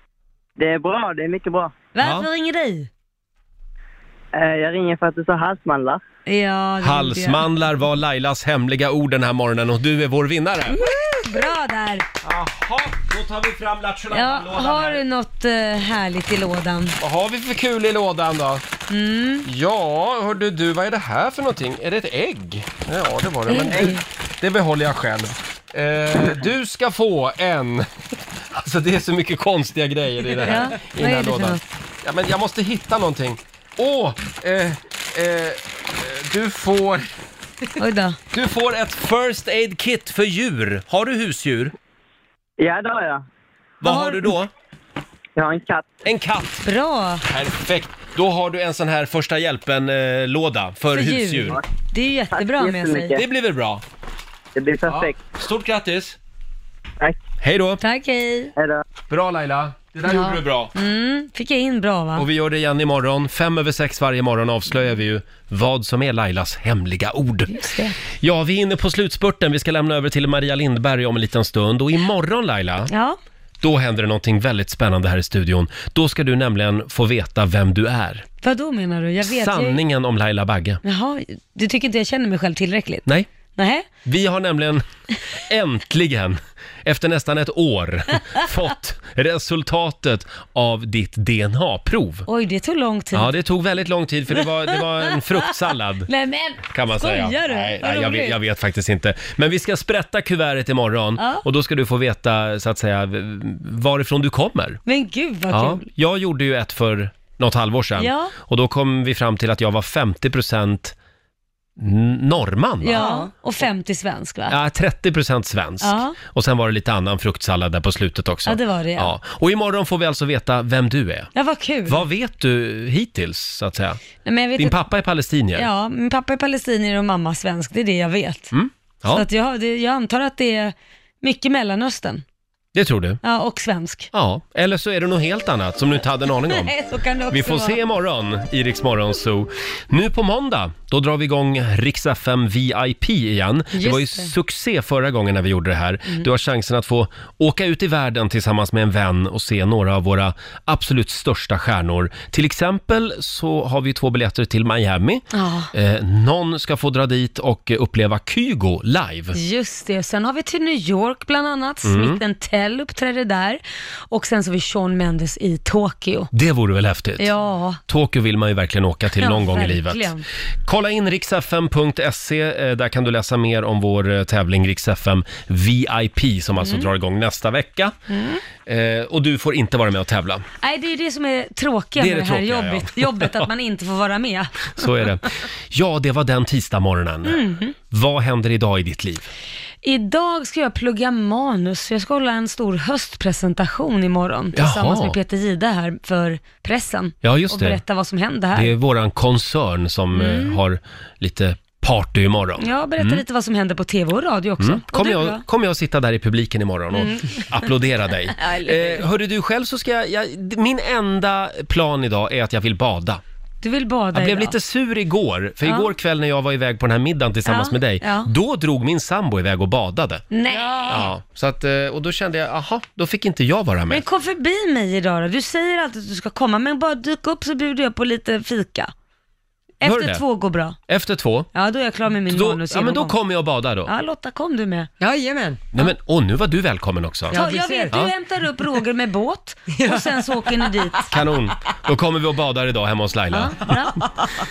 [SPEAKER 19] Det är bra, det är mycket bra.
[SPEAKER 2] Varför ringer du?
[SPEAKER 19] Eh, Jag ringer för att du sa halsmandlar.
[SPEAKER 2] Ja,
[SPEAKER 1] Halsmandlar var Lailas hemliga ord den här morgonen och du är vår vinnare.
[SPEAKER 2] Mm. Bra där.
[SPEAKER 1] Jaha, då tar vi fram
[SPEAKER 2] Ja, har du något eh, härligt i lådan?
[SPEAKER 1] Vad har vi för kul i lådan då?
[SPEAKER 2] Mm.
[SPEAKER 1] Ja, hörde du, vad är det här för någonting? Är det ett ägg? Ja, det var det, men
[SPEAKER 2] Ägg.
[SPEAKER 1] det, det behåller jag själv. Eh, du ska få en... Alltså det är så mycket konstiga grejer i, det här,
[SPEAKER 2] Ja,
[SPEAKER 1] i
[SPEAKER 2] vad
[SPEAKER 1] den
[SPEAKER 2] är
[SPEAKER 1] här
[SPEAKER 2] det för
[SPEAKER 1] lådan.
[SPEAKER 2] något?
[SPEAKER 1] Ja, men jag måste hitta någonting. Åh! eh, eh, du får...
[SPEAKER 2] Oj då.
[SPEAKER 1] Du får ett First Aid Kit för djur. Har du husdjur?
[SPEAKER 19] Ja, det har jag.
[SPEAKER 1] Vad har du då?
[SPEAKER 19] Jag har en katt.
[SPEAKER 1] En katt?
[SPEAKER 2] Bra.
[SPEAKER 1] Perfekt. Då har du en sån här första hjälpen-låda för,
[SPEAKER 2] För djur.
[SPEAKER 1] husdjur.
[SPEAKER 2] Det är ju jättebra
[SPEAKER 19] Tack så
[SPEAKER 2] med sig.
[SPEAKER 19] jättemycket.
[SPEAKER 1] Det blir väl bra?
[SPEAKER 19] Det blir perfekt.
[SPEAKER 1] Stort grattis!
[SPEAKER 19] Tack.
[SPEAKER 1] Hej då!
[SPEAKER 2] Tack, hej.
[SPEAKER 1] Bra Laila, det där
[SPEAKER 2] Ja.
[SPEAKER 1] gjorde du bra.
[SPEAKER 2] Mm, fick jag in bra va?
[SPEAKER 1] Och vi gör det igen imorgon. Fem över sex varje morgon avslöjar vi ju vad som är Lailas hemliga ord. Ja, vi är inne på slutspurten. Vi ska lämna över till Maria Lindberg om en liten stund. Och imorgon Laila,
[SPEAKER 2] Ja.
[SPEAKER 1] då händer det någonting väldigt spännande här i studion. Då ska du nämligen få veta vem du är.
[SPEAKER 2] Vad då menar du? Jag vet ju...
[SPEAKER 1] Sanningen om Laila Bagge.
[SPEAKER 2] Jaha, du tycker inte jag känner mig själv tillräckligt?
[SPEAKER 1] Nej.
[SPEAKER 2] Nej.
[SPEAKER 1] Vi har nämligen äntligen, efter nästan ett år, fått resultatet av ditt DNA-prov.
[SPEAKER 2] Oj, det tog lång tid.
[SPEAKER 1] Ja, det tog väldigt lång tid för det var, det var en fruktsallad.
[SPEAKER 2] Nej men,
[SPEAKER 1] Kan man
[SPEAKER 2] skojar
[SPEAKER 1] säga.
[SPEAKER 2] du?
[SPEAKER 1] Nej,
[SPEAKER 2] Vad
[SPEAKER 1] nej jag, vet,
[SPEAKER 2] roligt.
[SPEAKER 1] jag vet faktiskt inte. Men vi ska sprätta kuvertet imorgon
[SPEAKER 2] Ja.
[SPEAKER 1] och då ska du få veta så att säga v- varifrån du kommer.
[SPEAKER 2] Men gud vad
[SPEAKER 1] Ja,
[SPEAKER 2] kul.
[SPEAKER 1] jag gjorde ju ett för något halvår sedan
[SPEAKER 2] Ja.
[SPEAKER 1] och då kom vi fram till att jag var 50% n- norrman. va?
[SPEAKER 2] Ja, och 50 svensk va?
[SPEAKER 1] Ja, 30% svensk.
[SPEAKER 2] Ja.
[SPEAKER 1] Och sen var det lite annan fruktsallad där på slutet också.
[SPEAKER 2] Ja, det var det, ja.
[SPEAKER 1] ja. Och imorgon får vi alltså veta vem du är.
[SPEAKER 2] Ja, vad kul.
[SPEAKER 1] Vad vet du hittills, så att säga?
[SPEAKER 2] Nej, men jag vet
[SPEAKER 1] Din
[SPEAKER 2] att-
[SPEAKER 1] pappa är palestinier.
[SPEAKER 2] Ja, min pappa är palestinier och mamma svensk, det är det jag vet.
[SPEAKER 1] Mm?
[SPEAKER 2] Så
[SPEAKER 1] ja
[SPEAKER 2] att jag, det, jag antar att det är mycket Mellanöstern.
[SPEAKER 1] det tror du.
[SPEAKER 2] Ja, och svensk.
[SPEAKER 1] Ja, eller så är det något helt annat som du inte hade en aning om.
[SPEAKER 2] Nej, så kan det också
[SPEAKER 1] Vi får
[SPEAKER 2] vara.
[SPEAKER 1] se imorgon i Rix Morgon Zoo. Nu på måndag, då drar vi igång Rix FM VIP igen. det
[SPEAKER 13] Just
[SPEAKER 1] var ju
[SPEAKER 13] det.
[SPEAKER 1] succé förra gången när vi gjorde det här.
[SPEAKER 13] Mm.
[SPEAKER 1] Du har chansen att få åka ut i världen tillsammans med en vän och se några av våra absolut största stjärnor. Till exempel så har vi två biljetter till Miami.
[SPEAKER 2] Ja.
[SPEAKER 1] Eh, någon ska få dra dit och uppleva Kygo live.
[SPEAKER 2] Just det, sen har vi till New York bland annat,
[SPEAKER 1] Mm.
[SPEAKER 2] Smith Tell uppträder där och sen så har vi Sean Mendes i Tokyo.
[SPEAKER 1] Det vore väl häftigt?
[SPEAKER 2] Ja,
[SPEAKER 1] Tokyo vill man ju verkligen åka till
[SPEAKER 2] Ja,
[SPEAKER 1] någon gång i livet.
[SPEAKER 2] verkligen.
[SPEAKER 1] Kolla in riksfm.se, eh, där kan du läsa mer om vår eh, tävling Riksfm VIP som alltså
[SPEAKER 2] Mm.
[SPEAKER 1] drar igång nästa vecka.
[SPEAKER 2] Mm.
[SPEAKER 1] Eh, Och du får inte vara med och tävla.
[SPEAKER 2] Nej, det är det som är tråkiga
[SPEAKER 1] Det är
[SPEAKER 2] med det,
[SPEAKER 1] det
[SPEAKER 2] här
[SPEAKER 1] tråkiga, ja.
[SPEAKER 2] jobbet, jobbet, att man inte får vara med.
[SPEAKER 1] Så är det. Ja, det var den tisdagsmorgonen.
[SPEAKER 2] Mhm.
[SPEAKER 1] Vad händer idag i ditt liv?
[SPEAKER 2] Idag ska jag plugga manus, jag ska hålla en stor höstpresentation imorgon
[SPEAKER 1] Jaha.
[SPEAKER 2] tillsammans med Peter Gide här för pressen
[SPEAKER 1] Ja, just
[SPEAKER 2] och
[SPEAKER 1] det.
[SPEAKER 2] berätta vad som händer här.
[SPEAKER 1] Det är våran koncern som eh,
[SPEAKER 2] Mm.
[SPEAKER 1] har lite party imorgon.
[SPEAKER 2] Ja, berätta
[SPEAKER 1] Mm.
[SPEAKER 2] lite vad som händer på tv och radio också.
[SPEAKER 1] Mm.
[SPEAKER 2] Och
[SPEAKER 1] Kommer
[SPEAKER 2] du
[SPEAKER 1] jag,
[SPEAKER 2] då?
[SPEAKER 1] kom jag sitta där i publiken imorgon och
[SPEAKER 2] Mm.
[SPEAKER 1] applådera dig?
[SPEAKER 2] Ja, eller
[SPEAKER 1] eh, hörde du själv så ska jag, jag, min enda plan idag är att jag vill bada.
[SPEAKER 2] Du vill bada
[SPEAKER 1] Jag blev
[SPEAKER 2] idag.
[SPEAKER 1] lite sur igår, för
[SPEAKER 2] Ja.
[SPEAKER 1] igår kväll när jag var iväg på den här middagen tillsammans
[SPEAKER 2] Ja,
[SPEAKER 1] med dig,
[SPEAKER 2] ja.
[SPEAKER 1] då drog min sambo iväg och badade.
[SPEAKER 2] Nej.
[SPEAKER 1] Ja, så att, eh, och då kände jag, aha, då fick inte jag vara
[SPEAKER 2] Men
[SPEAKER 1] med.
[SPEAKER 2] kom förbi mig idag då. Du säger alltid att du ska komma, men bara dyk upp så bjuder jag på lite fika.
[SPEAKER 1] Gör
[SPEAKER 2] Efter
[SPEAKER 1] det?
[SPEAKER 2] två går bra.
[SPEAKER 1] Efter två,
[SPEAKER 2] Ja, då är jag klar med min
[SPEAKER 1] då,
[SPEAKER 2] manus
[SPEAKER 1] ja, men då
[SPEAKER 2] genomgång.
[SPEAKER 1] kommer jag och badar då.
[SPEAKER 2] Ja, Lotta, kom du med.
[SPEAKER 3] Jajamän.
[SPEAKER 1] Nej men, åh nu var du välkommen också.
[SPEAKER 2] Ta, jag vet, du hämtar upp Roger med båt och sen så åker ni dit.
[SPEAKER 1] Kanon, då kommer vi och badar idag hemma hos Laila.
[SPEAKER 2] Ja, bra.